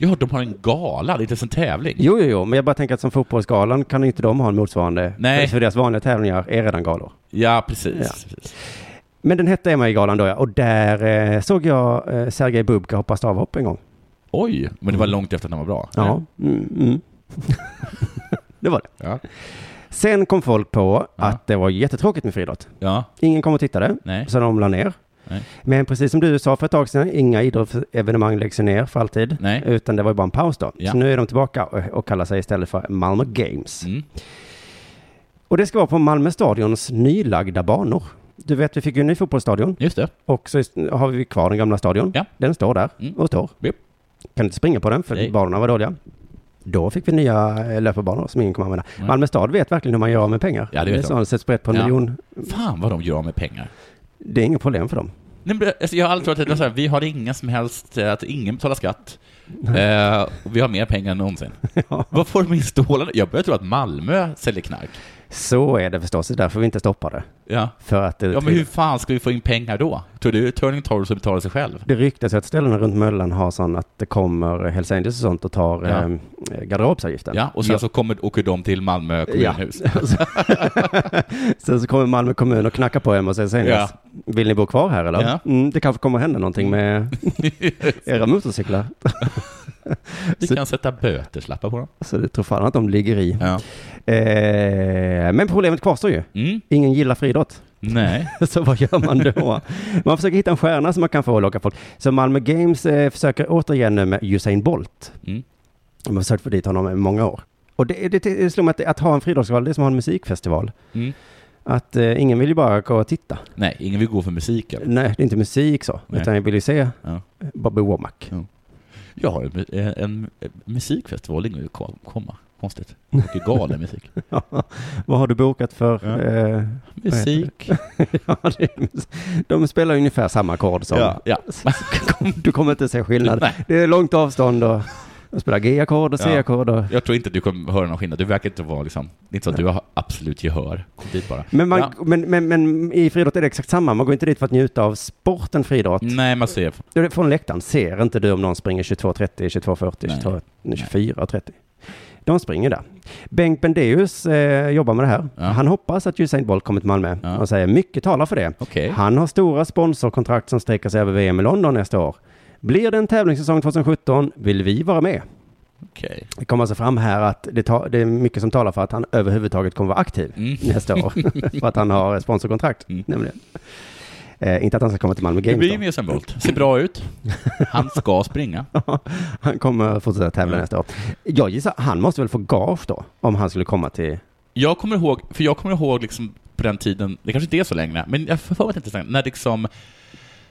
Speaker 4: Ja, de har en gala, det är inte ens en tävling.
Speaker 2: Jo, jo, jo, men jag bara tänker att som fotbollsgalan kan inte de ha en motsvarande.
Speaker 4: Nej.
Speaker 2: För deras vanliga tävlingar är redan galor.
Speaker 4: Ja, precis.
Speaker 2: Ja.
Speaker 4: precis.
Speaker 2: Men den hette MI-galan då ja, och där eh, såg jag eh, Sergej Bubka hoppa stavhopp en gång.
Speaker 4: Oj, men det var långt efter att den var bra.
Speaker 2: Mm. Ja. Mm, mm. det var det.
Speaker 4: Ja.
Speaker 2: Sen kom folk på
Speaker 4: Ja.
Speaker 2: att det var jättetråkigt med friidrott.
Speaker 4: ja.
Speaker 2: Ingen kom och tittade,
Speaker 4: Nej.
Speaker 2: så de la ner.
Speaker 4: Nej.
Speaker 2: Men precis som du sa för ett tag sedan, inga idrottsevenemang läggs ju ner för alltid.
Speaker 4: Nej.
Speaker 2: Utan det var ju bara en paus då.
Speaker 4: Ja.
Speaker 2: Så nu är de tillbaka och, och kallar sig istället för Malmö Games.
Speaker 4: Mm.
Speaker 2: Och det ska vara på Malmö Stadions nylagda banor. Du vet, vi fick ju en ny fotbollsstadion
Speaker 4: Just det.
Speaker 2: och så är- har vi kvar den gamla stadion.
Speaker 4: Ja.
Speaker 2: Den står där
Speaker 4: Mm.
Speaker 2: och står.
Speaker 4: Japp.
Speaker 2: Kan inte springa på den för
Speaker 4: Nej.
Speaker 2: banorna var dåliga. Då fick vi nya eh, löparbanor som ingen kommer använda. Malmö stad vet verkligen hur man gör av med pengar.
Speaker 4: Ja, det vet
Speaker 2: är
Speaker 4: de.
Speaker 2: så de sätts brett på en
Speaker 4: Ja.
Speaker 2: miljon.
Speaker 4: Fan vad de gör av med pengar.
Speaker 2: Det är inget problem för dem.
Speaker 4: Nej, men, alltså, jag har alltid trott att det var så här, vi har inga som helst, eh, att ingen betalar skatt. Eh, och vi har mer pengar än någonsin.
Speaker 2: Ja.
Speaker 4: Vad får de in stålarna? Jag börjar tro att Malmö säljer knark.
Speaker 2: Så är det förstås. Det är därför vi inte stoppar det.
Speaker 4: Ja.
Speaker 2: För att det,
Speaker 4: Ja, men hur fan ska vi få in pengar då? Tror du Turning Torso betalar sig själv?
Speaker 2: det ryktas ju att ställena runt Möllan har sån att det kommer Hells Angels och sånt och tar
Speaker 4: Ja.
Speaker 2: eh, garderobsavgiften.
Speaker 4: Ja, och sen så kommer, åker de till Malmö kommunhus.
Speaker 2: Ja. sen så kommer Malmö kommun och knackar på hem och säger senast,
Speaker 4: Ja.
Speaker 2: vill ni bo kvar här eller?
Speaker 4: Ja.
Speaker 2: Mm, det kanske kommer hända någonting med era motorcyklar.
Speaker 4: Vi
Speaker 2: Så-
Speaker 4: kan sätta böterslappar på dem.
Speaker 2: Så det tror fan att de ligger i.
Speaker 4: Ja.
Speaker 2: Eh, men problemet kvarstår ju.
Speaker 4: Mm?
Speaker 2: Ingen gillar friidrott.
Speaker 4: Nej.
Speaker 2: Så vad gör man då? Man försöker hitta en stjärna som man kan få att locka folk. Så Malmö Games eh, försöker återigen nu med Usain Bolt.
Speaker 4: Mm.
Speaker 2: De har försökt få dit honom i många år. Och det, det, det slog mig att, att ha en friidrottsfestival, det är som att ha en musikfestival.
Speaker 4: Mm.
Speaker 2: Att eh, ingen vill ju bara gå och titta.
Speaker 4: Nej, ingen vill gå för musiken.
Speaker 2: Nej, det är inte musik så,
Speaker 4: Nej.
Speaker 2: utan jag vill ju se eh,
Speaker 4: Ja.
Speaker 2: Bobby Womack.
Speaker 4: Jag har en, en, en musikfestival, ingen vill ko- komma. Konstigt. Mycket galen musik.
Speaker 2: Vad har du bokat för?
Speaker 4: Ja.
Speaker 2: Eh,
Speaker 4: Musik.
Speaker 2: ja, det är, de spelar ungefär samma ackord som...
Speaker 4: Ja. ja.
Speaker 2: Du kommer inte se skillnad.
Speaker 4: Nej.
Speaker 2: Det är långt avstånd och de spelar G-ackord och
Speaker 4: Ja.
Speaker 2: C-ackord. Och...
Speaker 4: Jag tror inte att du kommer höra någon skillnad. Du verkar inte vara liksom, det är inte så att du har absolut gehör. Kom dit bara.
Speaker 2: Men, man,
Speaker 4: Ja.
Speaker 2: men, men, men i friidrott är det exakt samma. Man går inte dit för att njuta av sporten friidrott.
Speaker 4: Nej, man ser.
Speaker 2: Det är Från läktaren ser inte du om någon springer 22.30, 22.40,
Speaker 4: Nej.
Speaker 2: 22, 24.30. De springer där. Bengt Bendeus eh, jobbar med det här.
Speaker 4: Ja.
Speaker 2: Han hoppas att Usain Bolt kommer till Malmö
Speaker 4: Ja.
Speaker 2: och säger mycket talar för det.
Speaker 4: Okej.
Speaker 2: Han har stora sponsorkontrakt som sträcker sig över VM i London nästa år. Blir det en tävlingssäsong 2017 vill vi vara med.
Speaker 4: Okej.
Speaker 2: Det kommer alltså fram här att det, ta, det är mycket som talar för att han överhuvudtaget kommer vara aktiv
Speaker 4: Mm.
Speaker 2: nästa år. för att han har sponsorkontrakt,
Speaker 4: Mm.
Speaker 2: nämligen. Eh, inte att han ska komma till Malmö
Speaker 4: Det blir ju
Speaker 2: Games då.
Speaker 4: Nielsen Bolt. Ser bra ut. Han ska springa.
Speaker 2: Han kommer fortsätta tävla
Speaker 4: Ja.
Speaker 2: nästa år. Jag gissar, han måste väl få gage då? Om han skulle komma till...
Speaker 4: Jag kommer ihåg, för jag kommer ihåg liksom på den tiden, det kanske inte är så länge, men jag får för mig att det inte är så länge, när liksom,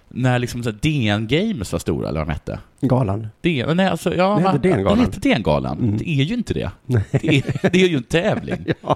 Speaker 4: när liksom så här DN Games var stora, eller vad de hette.
Speaker 2: Galan.
Speaker 4: DN, nej, alltså, ja,
Speaker 2: Det hette
Speaker 4: va-
Speaker 2: DN-galan.
Speaker 4: Det hette DN-galan.
Speaker 2: Mm.
Speaker 4: Det är ju inte det. Det är, det är ju en tävling.
Speaker 2: Ja.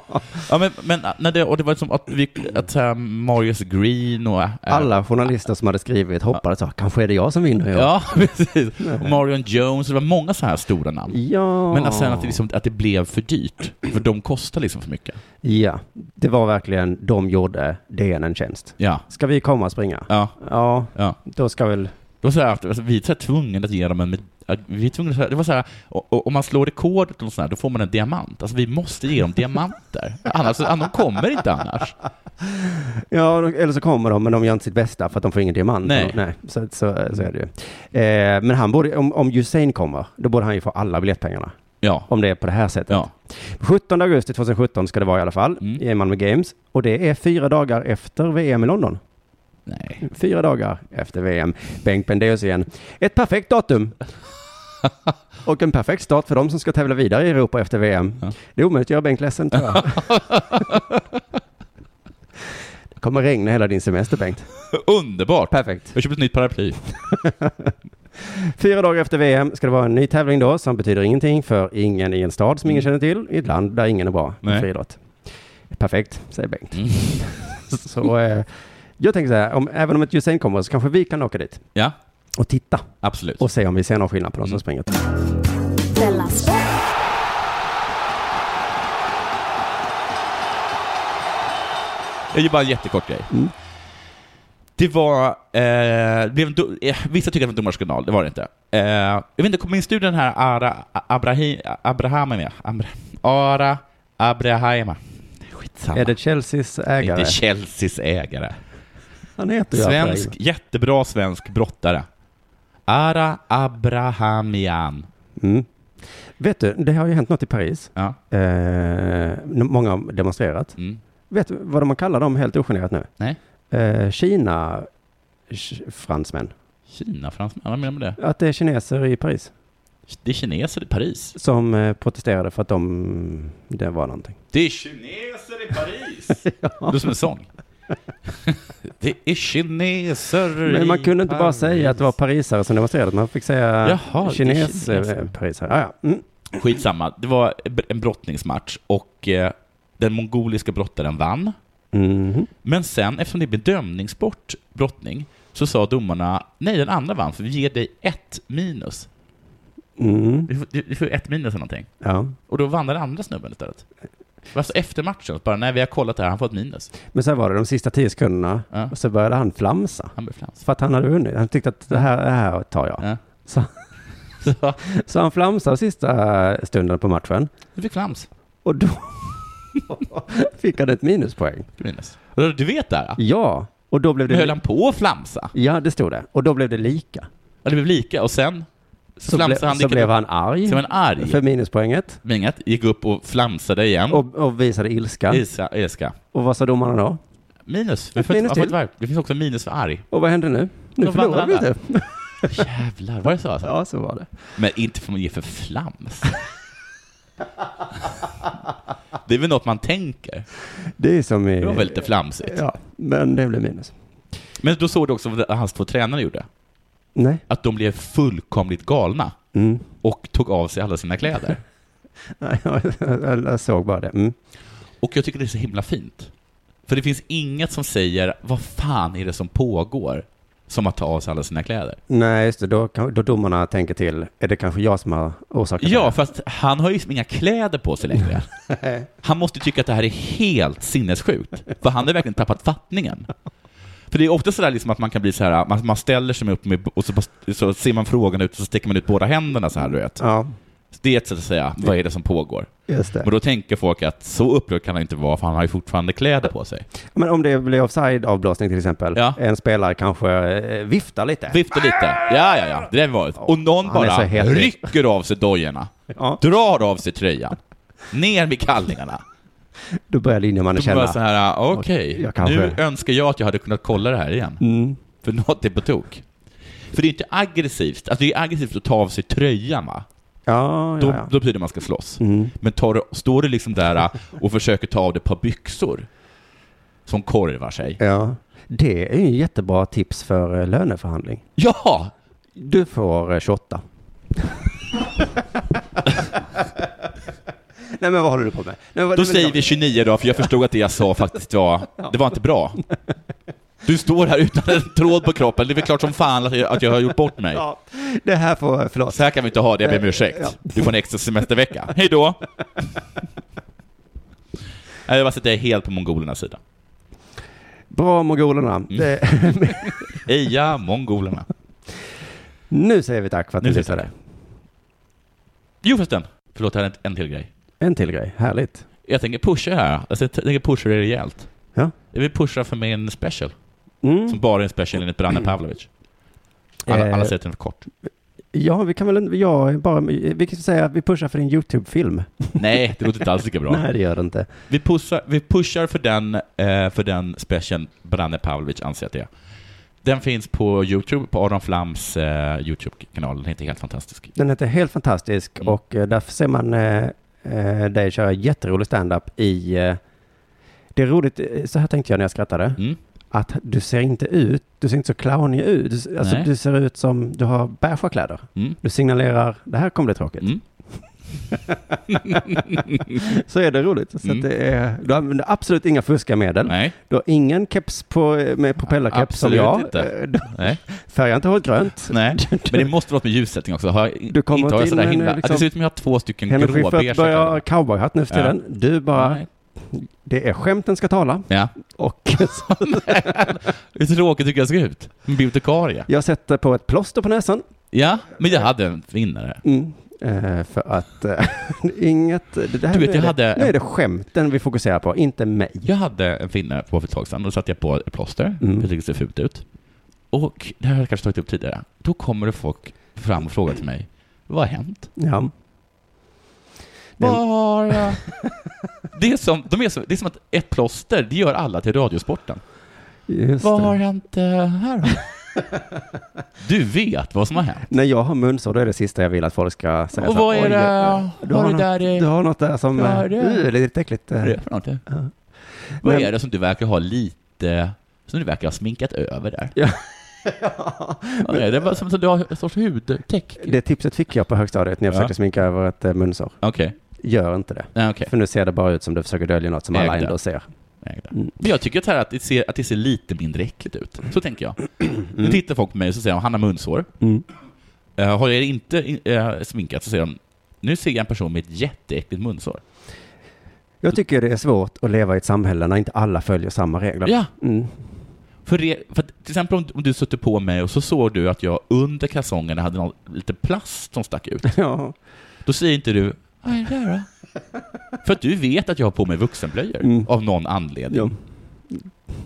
Speaker 4: Ja, men, men ah, när det, och det var som att, vi, att så här, Marius Green och... eh,
Speaker 2: Alla journalister som hade skrivit hoppades så, kanske är det jag som vinner i år.
Speaker 4: Ja, precis. Och Marion Jones, det var många så här stora namn.
Speaker 2: ja.
Speaker 4: Men att sen att det, liksom, att det blev för dyrt, för de kostar liksom för mycket.
Speaker 2: Ja, det var verkligen, de gjorde DN en tjänst.
Speaker 4: Ja,
Speaker 2: Ska vi komma och springa?
Speaker 4: ja,
Speaker 2: Ja,
Speaker 4: ja.
Speaker 2: då ska väl...
Speaker 4: Det var så här, att- alltså, vi är så här tvungna att ge dem en... med- att Vi är tvungna, så här- det var så här, och, och, om man slår rekordet och sånt här, då får man en diamant. Alltså vi måste ge dem diamanter. Annars, de kommer inte annars.
Speaker 2: Ja, då- eller så kommer de, men de gör inte sitt bästa för att de får ingen diamant.
Speaker 4: Nej.
Speaker 2: Nej så, så, så är det ju. Eh, men han borde, om, om Usain kommer, då borde han ju få alla biljettpengarna.
Speaker 4: Ja,
Speaker 2: Om det är på det här sättet.
Speaker 4: ja.
Speaker 2: 17 augusti 2017 ska det vara i alla fall,
Speaker 4: Mm.
Speaker 2: i Malmö Games. Och det är fyra dagar efter VM i London.
Speaker 4: Nej.
Speaker 2: Fyra dagar efter VM. Bengt Bendeus igen. Ett perfekt datum. Och en perfekt start för de som ska tävla vidare i Europa efter VM.
Speaker 4: Ja.
Speaker 2: Det är omöjligt att göra Bengt ledsen tror jag. Det kommer regna hela din semester Bengt.
Speaker 4: Underbart!
Speaker 2: Perfekt.
Speaker 4: Jag köpte ett nytt paraply.
Speaker 2: Fyra dagar efter VM ska det vara en ny tävling då som betyder ingenting för ingen i en stad som ingen känner till, i ett land där ingen är bra på
Speaker 4: Mm. Nej.
Speaker 2: friidrott. Perfekt, säger Bengt.
Speaker 4: Mm.
Speaker 2: Så eh, jag tänker så här, om, även om ett Usain kommer så kanske vi kan åka dit
Speaker 4: Ja,
Speaker 2: och titta
Speaker 4: absolut.
Speaker 2: och se om vi ser någon skillnad på de som
Speaker 4: Mm.
Speaker 2: springer.
Speaker 3: Della Sport.
Speaker 4: Jag gör bara en jättekort grej.
Speaker 2: Mm.
Speaker 4: Det var... Eh, det blev en do- eh, vissa tycker att det var en domarskandal, det var det inte. Eh, jag vet inte, minns du den här Ara Abrahi, Abrahama? Amra, Ara Abrahama? Skitsamma.
Speaker 2: Är det Chelseas
Speaker 4: inte
Speaker 2: ägare?
Speaker 4: Chelseas ägare.
Speaker 2: Han heter ju
Speaker 4: Svensk,
Speaker 2: Abraham.
Speaker 4: jättebra svensk brottare. Ara Abrahamian.
Speaker 2: Mm. Vet du, det har ju hänt något i Paris.
Speaker 4: Ja.
Speaker 2: Eh, många har demonstrerat.
Speaker 4: Mm.
Speaker 2: Vet du vad de kallar dem helt ogenerat nu?
Speaker 4: Nej.
Speaker 2: Eh, Kina sh- fransmän.
Speaker 4: Kina, fransmän, vad menar du med det?
Speaker 2: Att det är kineser i Paris
Speaker 4: Det är kineser i Paris.
Speaker 2: som eh, protesterade för att de, det var någonting.
Speaker 4: Det är kineser i Paris! Det är som en sång. Det är kineser
Speaker 2: Men man
Speaker 4: i
Speaker 2: kunde inte bara
Speaker 4: Paris.
Speaker 2: säga att det var parisare som demonstrerade. Man fick säga
Speaker 4: Jaha, det är
Speaker 2: kines,
Speaker 4: kineser.
Speaker 2: eh, parisare. Ja, ja. Mm.
Speaker 4: Skitsamma, det var en brottningsmatch och eh, den mongoliska brottaren vann.
Speaker 2: Mhm.
Speaker 4: Men sen, eftersom det är bedömningssport, brottning, så sa domarna nej, den andra vann, för vi ger dig ett minus.
Speaker 2: Mm.
Speaker 4: Du får, du får ett minus eller någonting.
Speaker 2: Ja.
Speaker 4: Och då vann den andra snubben istället. Alltså efter matchen, bara nej, vi har kollat det här, han får ett minus.
Speaker 2: Men så här var det de sista tio sekunderna.
Speaker 4: Ja.
Speaker 2: Och så började han flamsa.
Speaker 4: Han blev flams.
Speaker 2: För att han hade vunnit. Han tyckte att det här, det här tar jag.
Speaker 4: Ja.
Speaker 2: Så,
Speaker 4: Så,
Speaker 2: så han flamsade sista stunden på matchen.
Speaker 4: du fick flams.
Speaker 2: Och då fick han ett minuspoäng.
Speaker 4: Minus. Och Du vet det här?
Speaker 2: Ja, och då blev
Speaker 4: Men höll
Speaker 2: det...
Speaker 4: han på att flamsa?
Speaker 2: Ja, det stod det. Och då blev det lika.
Speaker 4: Ja, det blev lika och sen så,
Speaker 2: Så, ble,
Speaker 4: flamsade han.
Speaker 2: så blev han arg
Speaker 4: Som en arg.
Speaker 2: för minuspoänget.
Speaker 4: Mingat gick upp och flamsade igen.
Speaker 2: Och, och visade ilska.
Speaker 4: Isa, Iska.
Speaker 2: Och vad sa domarna då?
Speaker 4: Minus.
Speaker 2: Ett minus
Speaker 4: man får
Speaker 2: till.
Speaker 4: ett varv. Det finns också minus för arg.
Speaker 2: Och vad hände nu? Nu
Speaker 4: Då vann
Speaker 2: förlorade vi typ.
Speaker 4: alla.
Speaker 2: det.
Speaker 4: Jävlar, var det så alltså?
Speaker 2: Ja, så var det.
Speaker 4: Men inte får man ge för flams. det är väl något man tänker.
Speaker 2: Det är som i...
Speaker 4: Det var väl lite flamsigt.
Speaker 2: Ja, men det blev minus.
Speaker 4: Men då såg du också vad hans två tränare gjorde.
Speaker 2: Nej.
Speaker 4: Att de blev fullkomligt galna
Speaker 2: Mm.
Speaker 4: och tog av sig alla sina kläder.
Speaker 2: Nej, jag, jag, jag såg bara det. Mm.
Speaker 4: Och jag tycker det är så himla fint. För det finns inget som säger vad fan är det som pågår som att ta av sig alla sina kläder.
Speaker 2: Nej, just det. Då, kan- då domarna tänker till. Är det kanske jag som har orsakat
Speaker 4: Ja, fast han har ju liksom inga kläder på sig längre. Han måste ju tycka att det här är helt sinnessjukt, för han har verkligen tappat fattningen. För det är ofta sådär liksom att man kan bli så här, man, man ställer sig upp med, och så, bara- så ser man frågan ut och så sticker man ut båda händerna så här, du vet.
Speaker 2: det? Ja.
Speaker 4: Det är ett sätt att säga, vad är det som pågår?
Speaker 2: Just det.
Speaker 4: Men då tänker folk att så upprörd kan han inte vara, för han har ju fortfarande kläder på sig.
Speaker 2: Men om det blir offside-avblåsning till exempel.
Speaker 4: Ja.
Speaker 2: En spelare kanske eh, viftar lite.
Speaker 4: Vifta lite. Ja, ja, ja. Det där var det. Och någon
Speaker 2: Han är så
Speaker 4: bara
Speaker 2: het.
Speaker 4: rycker av sig dojorna,
Speaker 2: Ja,
Speaker 4: drar av sig tröjan, ner med kallingarna.
Speaker 2: då börjar linjemannen
Speaker 4: Då var
Speaker 2: känna.
Speaker 4: jag så här, ah, okej,
Speaker 2: Jag kanske-
Speaker 4: nu önskar jag att jag hade kunnat kolla det här igen.
Speaker 2: Mm.
Speaker 4: För något är på tok. För det är inte aggressivt. Alltså det är aggressivt att ta av sig tröjan va?
Speaker 2: Ja,
Speaker 4: Då,
Speaker 2: ja, ja.
Speaker 4: då betyder det att man ska slåss.
Speaker 2: Mm.
Speaker 4: Men tar du, står du liksom där äh, och försöker ta av dig ett par byxor som korvar sig.
Speaker 2: ja. Det är ju en jättebra tips för eh, löneförhandling.
Speaker 4: Ja!
Speaker 2: Du får eh, 28. Nej men vad håller du på med? Nej, vad-
Speaker 4: Då
Speaker 2: men-
Speaker 4: säger vi 29 då, för jag förstod att det jag sa faktiskt var, det var inte bra. Du står här utan en tråd på kroppen, det är väl klart som fan att jag, att jag har gjort bort mig.
Speaker 2: Ja, det här får, eh, förlåt.
Speaker 4: Så här kan vi inte ha det, jag ber om ursäkt. Du får en extra semestervecka. Hej då! Nej, Jag bara sitter helt på mongolernas sida.
Speaker 2: Bra mongolerna.
Speaker 4: Mm.
Speaker 2: Det-
Speaker 4: Eja, mongolerna.
Speaker 2: nu säger vi tack för att
Speaker 4: Nu
Speaker 2: ni
Speaker 4: säger vi
Speaker 2: lyssnade.
Speaker 4: Jo förresten, förlåt, här är en- en till grej.
Speaker 2: En till grej, härligt.
Speaker 4: Jag tänker pusha här, alltså, jag tänker pusha det rejält.
Speaker 2: Ja.
Speaker 4: Jag vill pusha för mig en special,
Speaker 2: Mm.
Speaker 4: som bara är en special enligt Branne Pavlovic. Alla,
Speaker 2: Eh.
Speaker 4: alla säger att den är för kort.
Speaker 2: Ja, vi kan väl, ja, bara, vi kan säga att vi pushar för din YouTube-film.
Speaker 4: Nej, det låter inte alls lika bra.
Speaker 2: Nej, det gör det inte.
Speaker 4: Vi, pushar, vi pushar för den, eh, för den special Branne Pavlovic anser att det är. Den finns på Youtube, på Aron Flams eh, Youtube-kanal. Den heter Helt Fantastisk.
Speaker 2: Den heter Helt fantastisk
Speaker 4: Mm.
Speaker 2: och eh, där ser man eh, eh, dig köra jätterolig stand-up i... Eh, det är roligt, eh, så här tänkte jag när jag skrattade,
Speaker 4: Mm.
Speaker 2: att du ser inte ut, du ser inte så clownig ut. Du, ser- alltså,
Speaker 4: Nej.
Speaker 2: du ser ut som, du har beigea kläder.
Speaker 4: Mm.
Speaker 2: Du signalerar, det här kommer bli tråkigt.
Speaker 4: Mm.
Speaker 2: Så är det roligt. Så
Speaker 4: Mm.
Speaker 2: att det är, du använder absolut inga fuskamedel.
Speaker 4: Nej,
Speaker 2: Du har ingen keps på, eh, med propellerkeps som
Speaker 4: Absolut
Speaker 2: jag.
Speaker 4: inte.
Speaker 2: Eh, du-
Speaker 4: nej,
Speaker 2: Färgar inte håret grönt.
Speaker 4: nej. Men det måste vara något med ljussättning också. Har jag,
Speaker 2: Du kommer
Speaker 4: inte har jag
Speaker 2: inte
Speaker 4: sådär
Speaker 2: in med en,
Speaker 4: himla...
Speaker 2: liksom-
Speaker 4: det ser ut som jag har två stycken
Speaker 2: Henrik
Speaker 4: gråbeiga
Speaker 2: Schyffert börjar ha
Speaker 4: kläder.
Speaker 2: cowboyhatt nu för
Speaker 4: Ja.
Speaker 2: tiden. Du bara,
Speaker 4: Nej.
Speaker 2: det är skämten ska tala.
Speaker 4: Ja.
Speaker 2: Och
Speaker 4: Hur tråkigt tycker jag ser ut? En bibliotekarie.
Speaker 2: jag sätter på ett plåster på näsan.
Speaker 4: Ja, men jag hade en vinnare.
Speaker 2: Mm. Eh, för att eh, inget... Det det här,
Speaker 4: Du vet,
Speaker 2: nu, är
Speaker 4: jag
Speaker 2: det,
Speaker 4: hade
Speaker 2: nu
Speaker 4: en-
Speaker 2: är det skämten vi fokuserar på, inte mig.
Speaker 4: Jag hade en finne på för ett tag sedan och då satte jag på ett plåster.
Speaker 2: Mm.
Speaker 4: Jag tyckte det ser fult ut. Och det här har jag kanske tagit upp tidigare. Då kommer det folk fram och frågar till mig. Vad har hänt?
Speaker 2: Ja. Den-
Speaker 4: Vad har jag? Det är, som, de är som, det är som att ett plåster, det gör alla till Radiosporten.
Speaker 2: Just
Speaker 4: Vad har
Speaker 2: det.
Speaker 4: hänt eh, här då? Du vet vad som har hänt.
Speaker 2: När jag har munsår, då är det sista jag vill att folk ska säga.
Speaker 4: Och
Speaker 2: så här,
Speaker 4: vad är
Speaker 2: "Oj,
Speaker 4: det?
Speaker 2: eh, Du har,
Speaker 4: Vad är det
Speaker 2: något,
Speaker 4: där?
Speaker 2: du
Speaker 4: eh,
Speaker 2: har något där som...
Speaker 4: Vad
Speaker 2: eh,
Speaker 4: är
Speaker 2: uh,
Speaker 4: det?
Speaker 2: det är lite äckligt. eh."
Speaker 4: Vad är det för något?
Speaker 2: Ja.
Speaker 4: Vad
Speaker 2: Men-
Speaker 4: är det som du verkar ha lite, som du verkar ha sminkat över där?
Speaker 2: Ja.
Speaker 4: Vad är det? det var som som du har en sorts hudtäck?
Speaker 2: Det tipset fick jag på högstadiet när jag
Speaker 4: Ja.
Speaker 2: försökte sminka över ett eh, munsår.
Speaker 4: Okej.
Speaker 2: Gör inte det.
Speaker 4: Nej, okej.
Speaker 2: För nu ser det bara ut som du försöker dölja något som alla
Speaker 4: Ägda.
Speaker 2: ändå ser.
Speaker 4: ägda.
Speaker 2: Mm.
Speaker 4: Men jag tycker att, här att, det ser, att det ser lite mindre äckligt ut. Så tänker jag. Nu tittar folk på mig och så säger de, han har munsår.
Speaker 2: Mm.
Speaker 4: Eh, har jag inte in- eh, sminkat så säger de, nu ser jag en person med ett jätteäckligt munsår.
Speaker 2: Jag tycker det är svårt att leva i ett samhälle när inte alla följer samma regler.
Speaker 4: Ja,
Speaker 2: Mm.
Speaker 4: för, re, för att, till exempel om, om du satte på mig och så såg du att jag under kalsongerna hade någon, lite plast som stack ut.
Speaker 2: Ja.
Speaker 4: Då säger inte du, vad är det där då? För att du vet att jag har på mig vuxenblöjor
Speaker 2: Mm.
Speaker 4: av någon anledning.
Speaker 2: ja.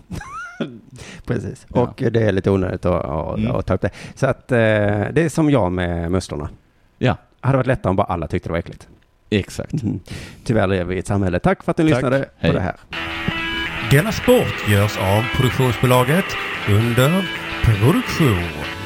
Speaker 2: Precis.
Speaker 4: Mm. Ja.
Speaker 2: Och det är lite onödigt att, att,
Speaker 4: Mm.
Speaker 2: att ta upp det. Så att eh, det är som jag med musslorna.
Speaker 4: Ja.
Speaker 2: Hade varit lättare om bara alla tyckte det var äckligt.
Speaker 4: Exakt.
Speaker 2: Tyvärr lever vi i ett samhälle. Tack för att ni
Speaker 4: Tack.
Speaker 2: lyssnade
Speaker 4: Hej.
Speaker 2: på det här.
Speaker 8: Denna sport görs av produktionsbolaget under produktion.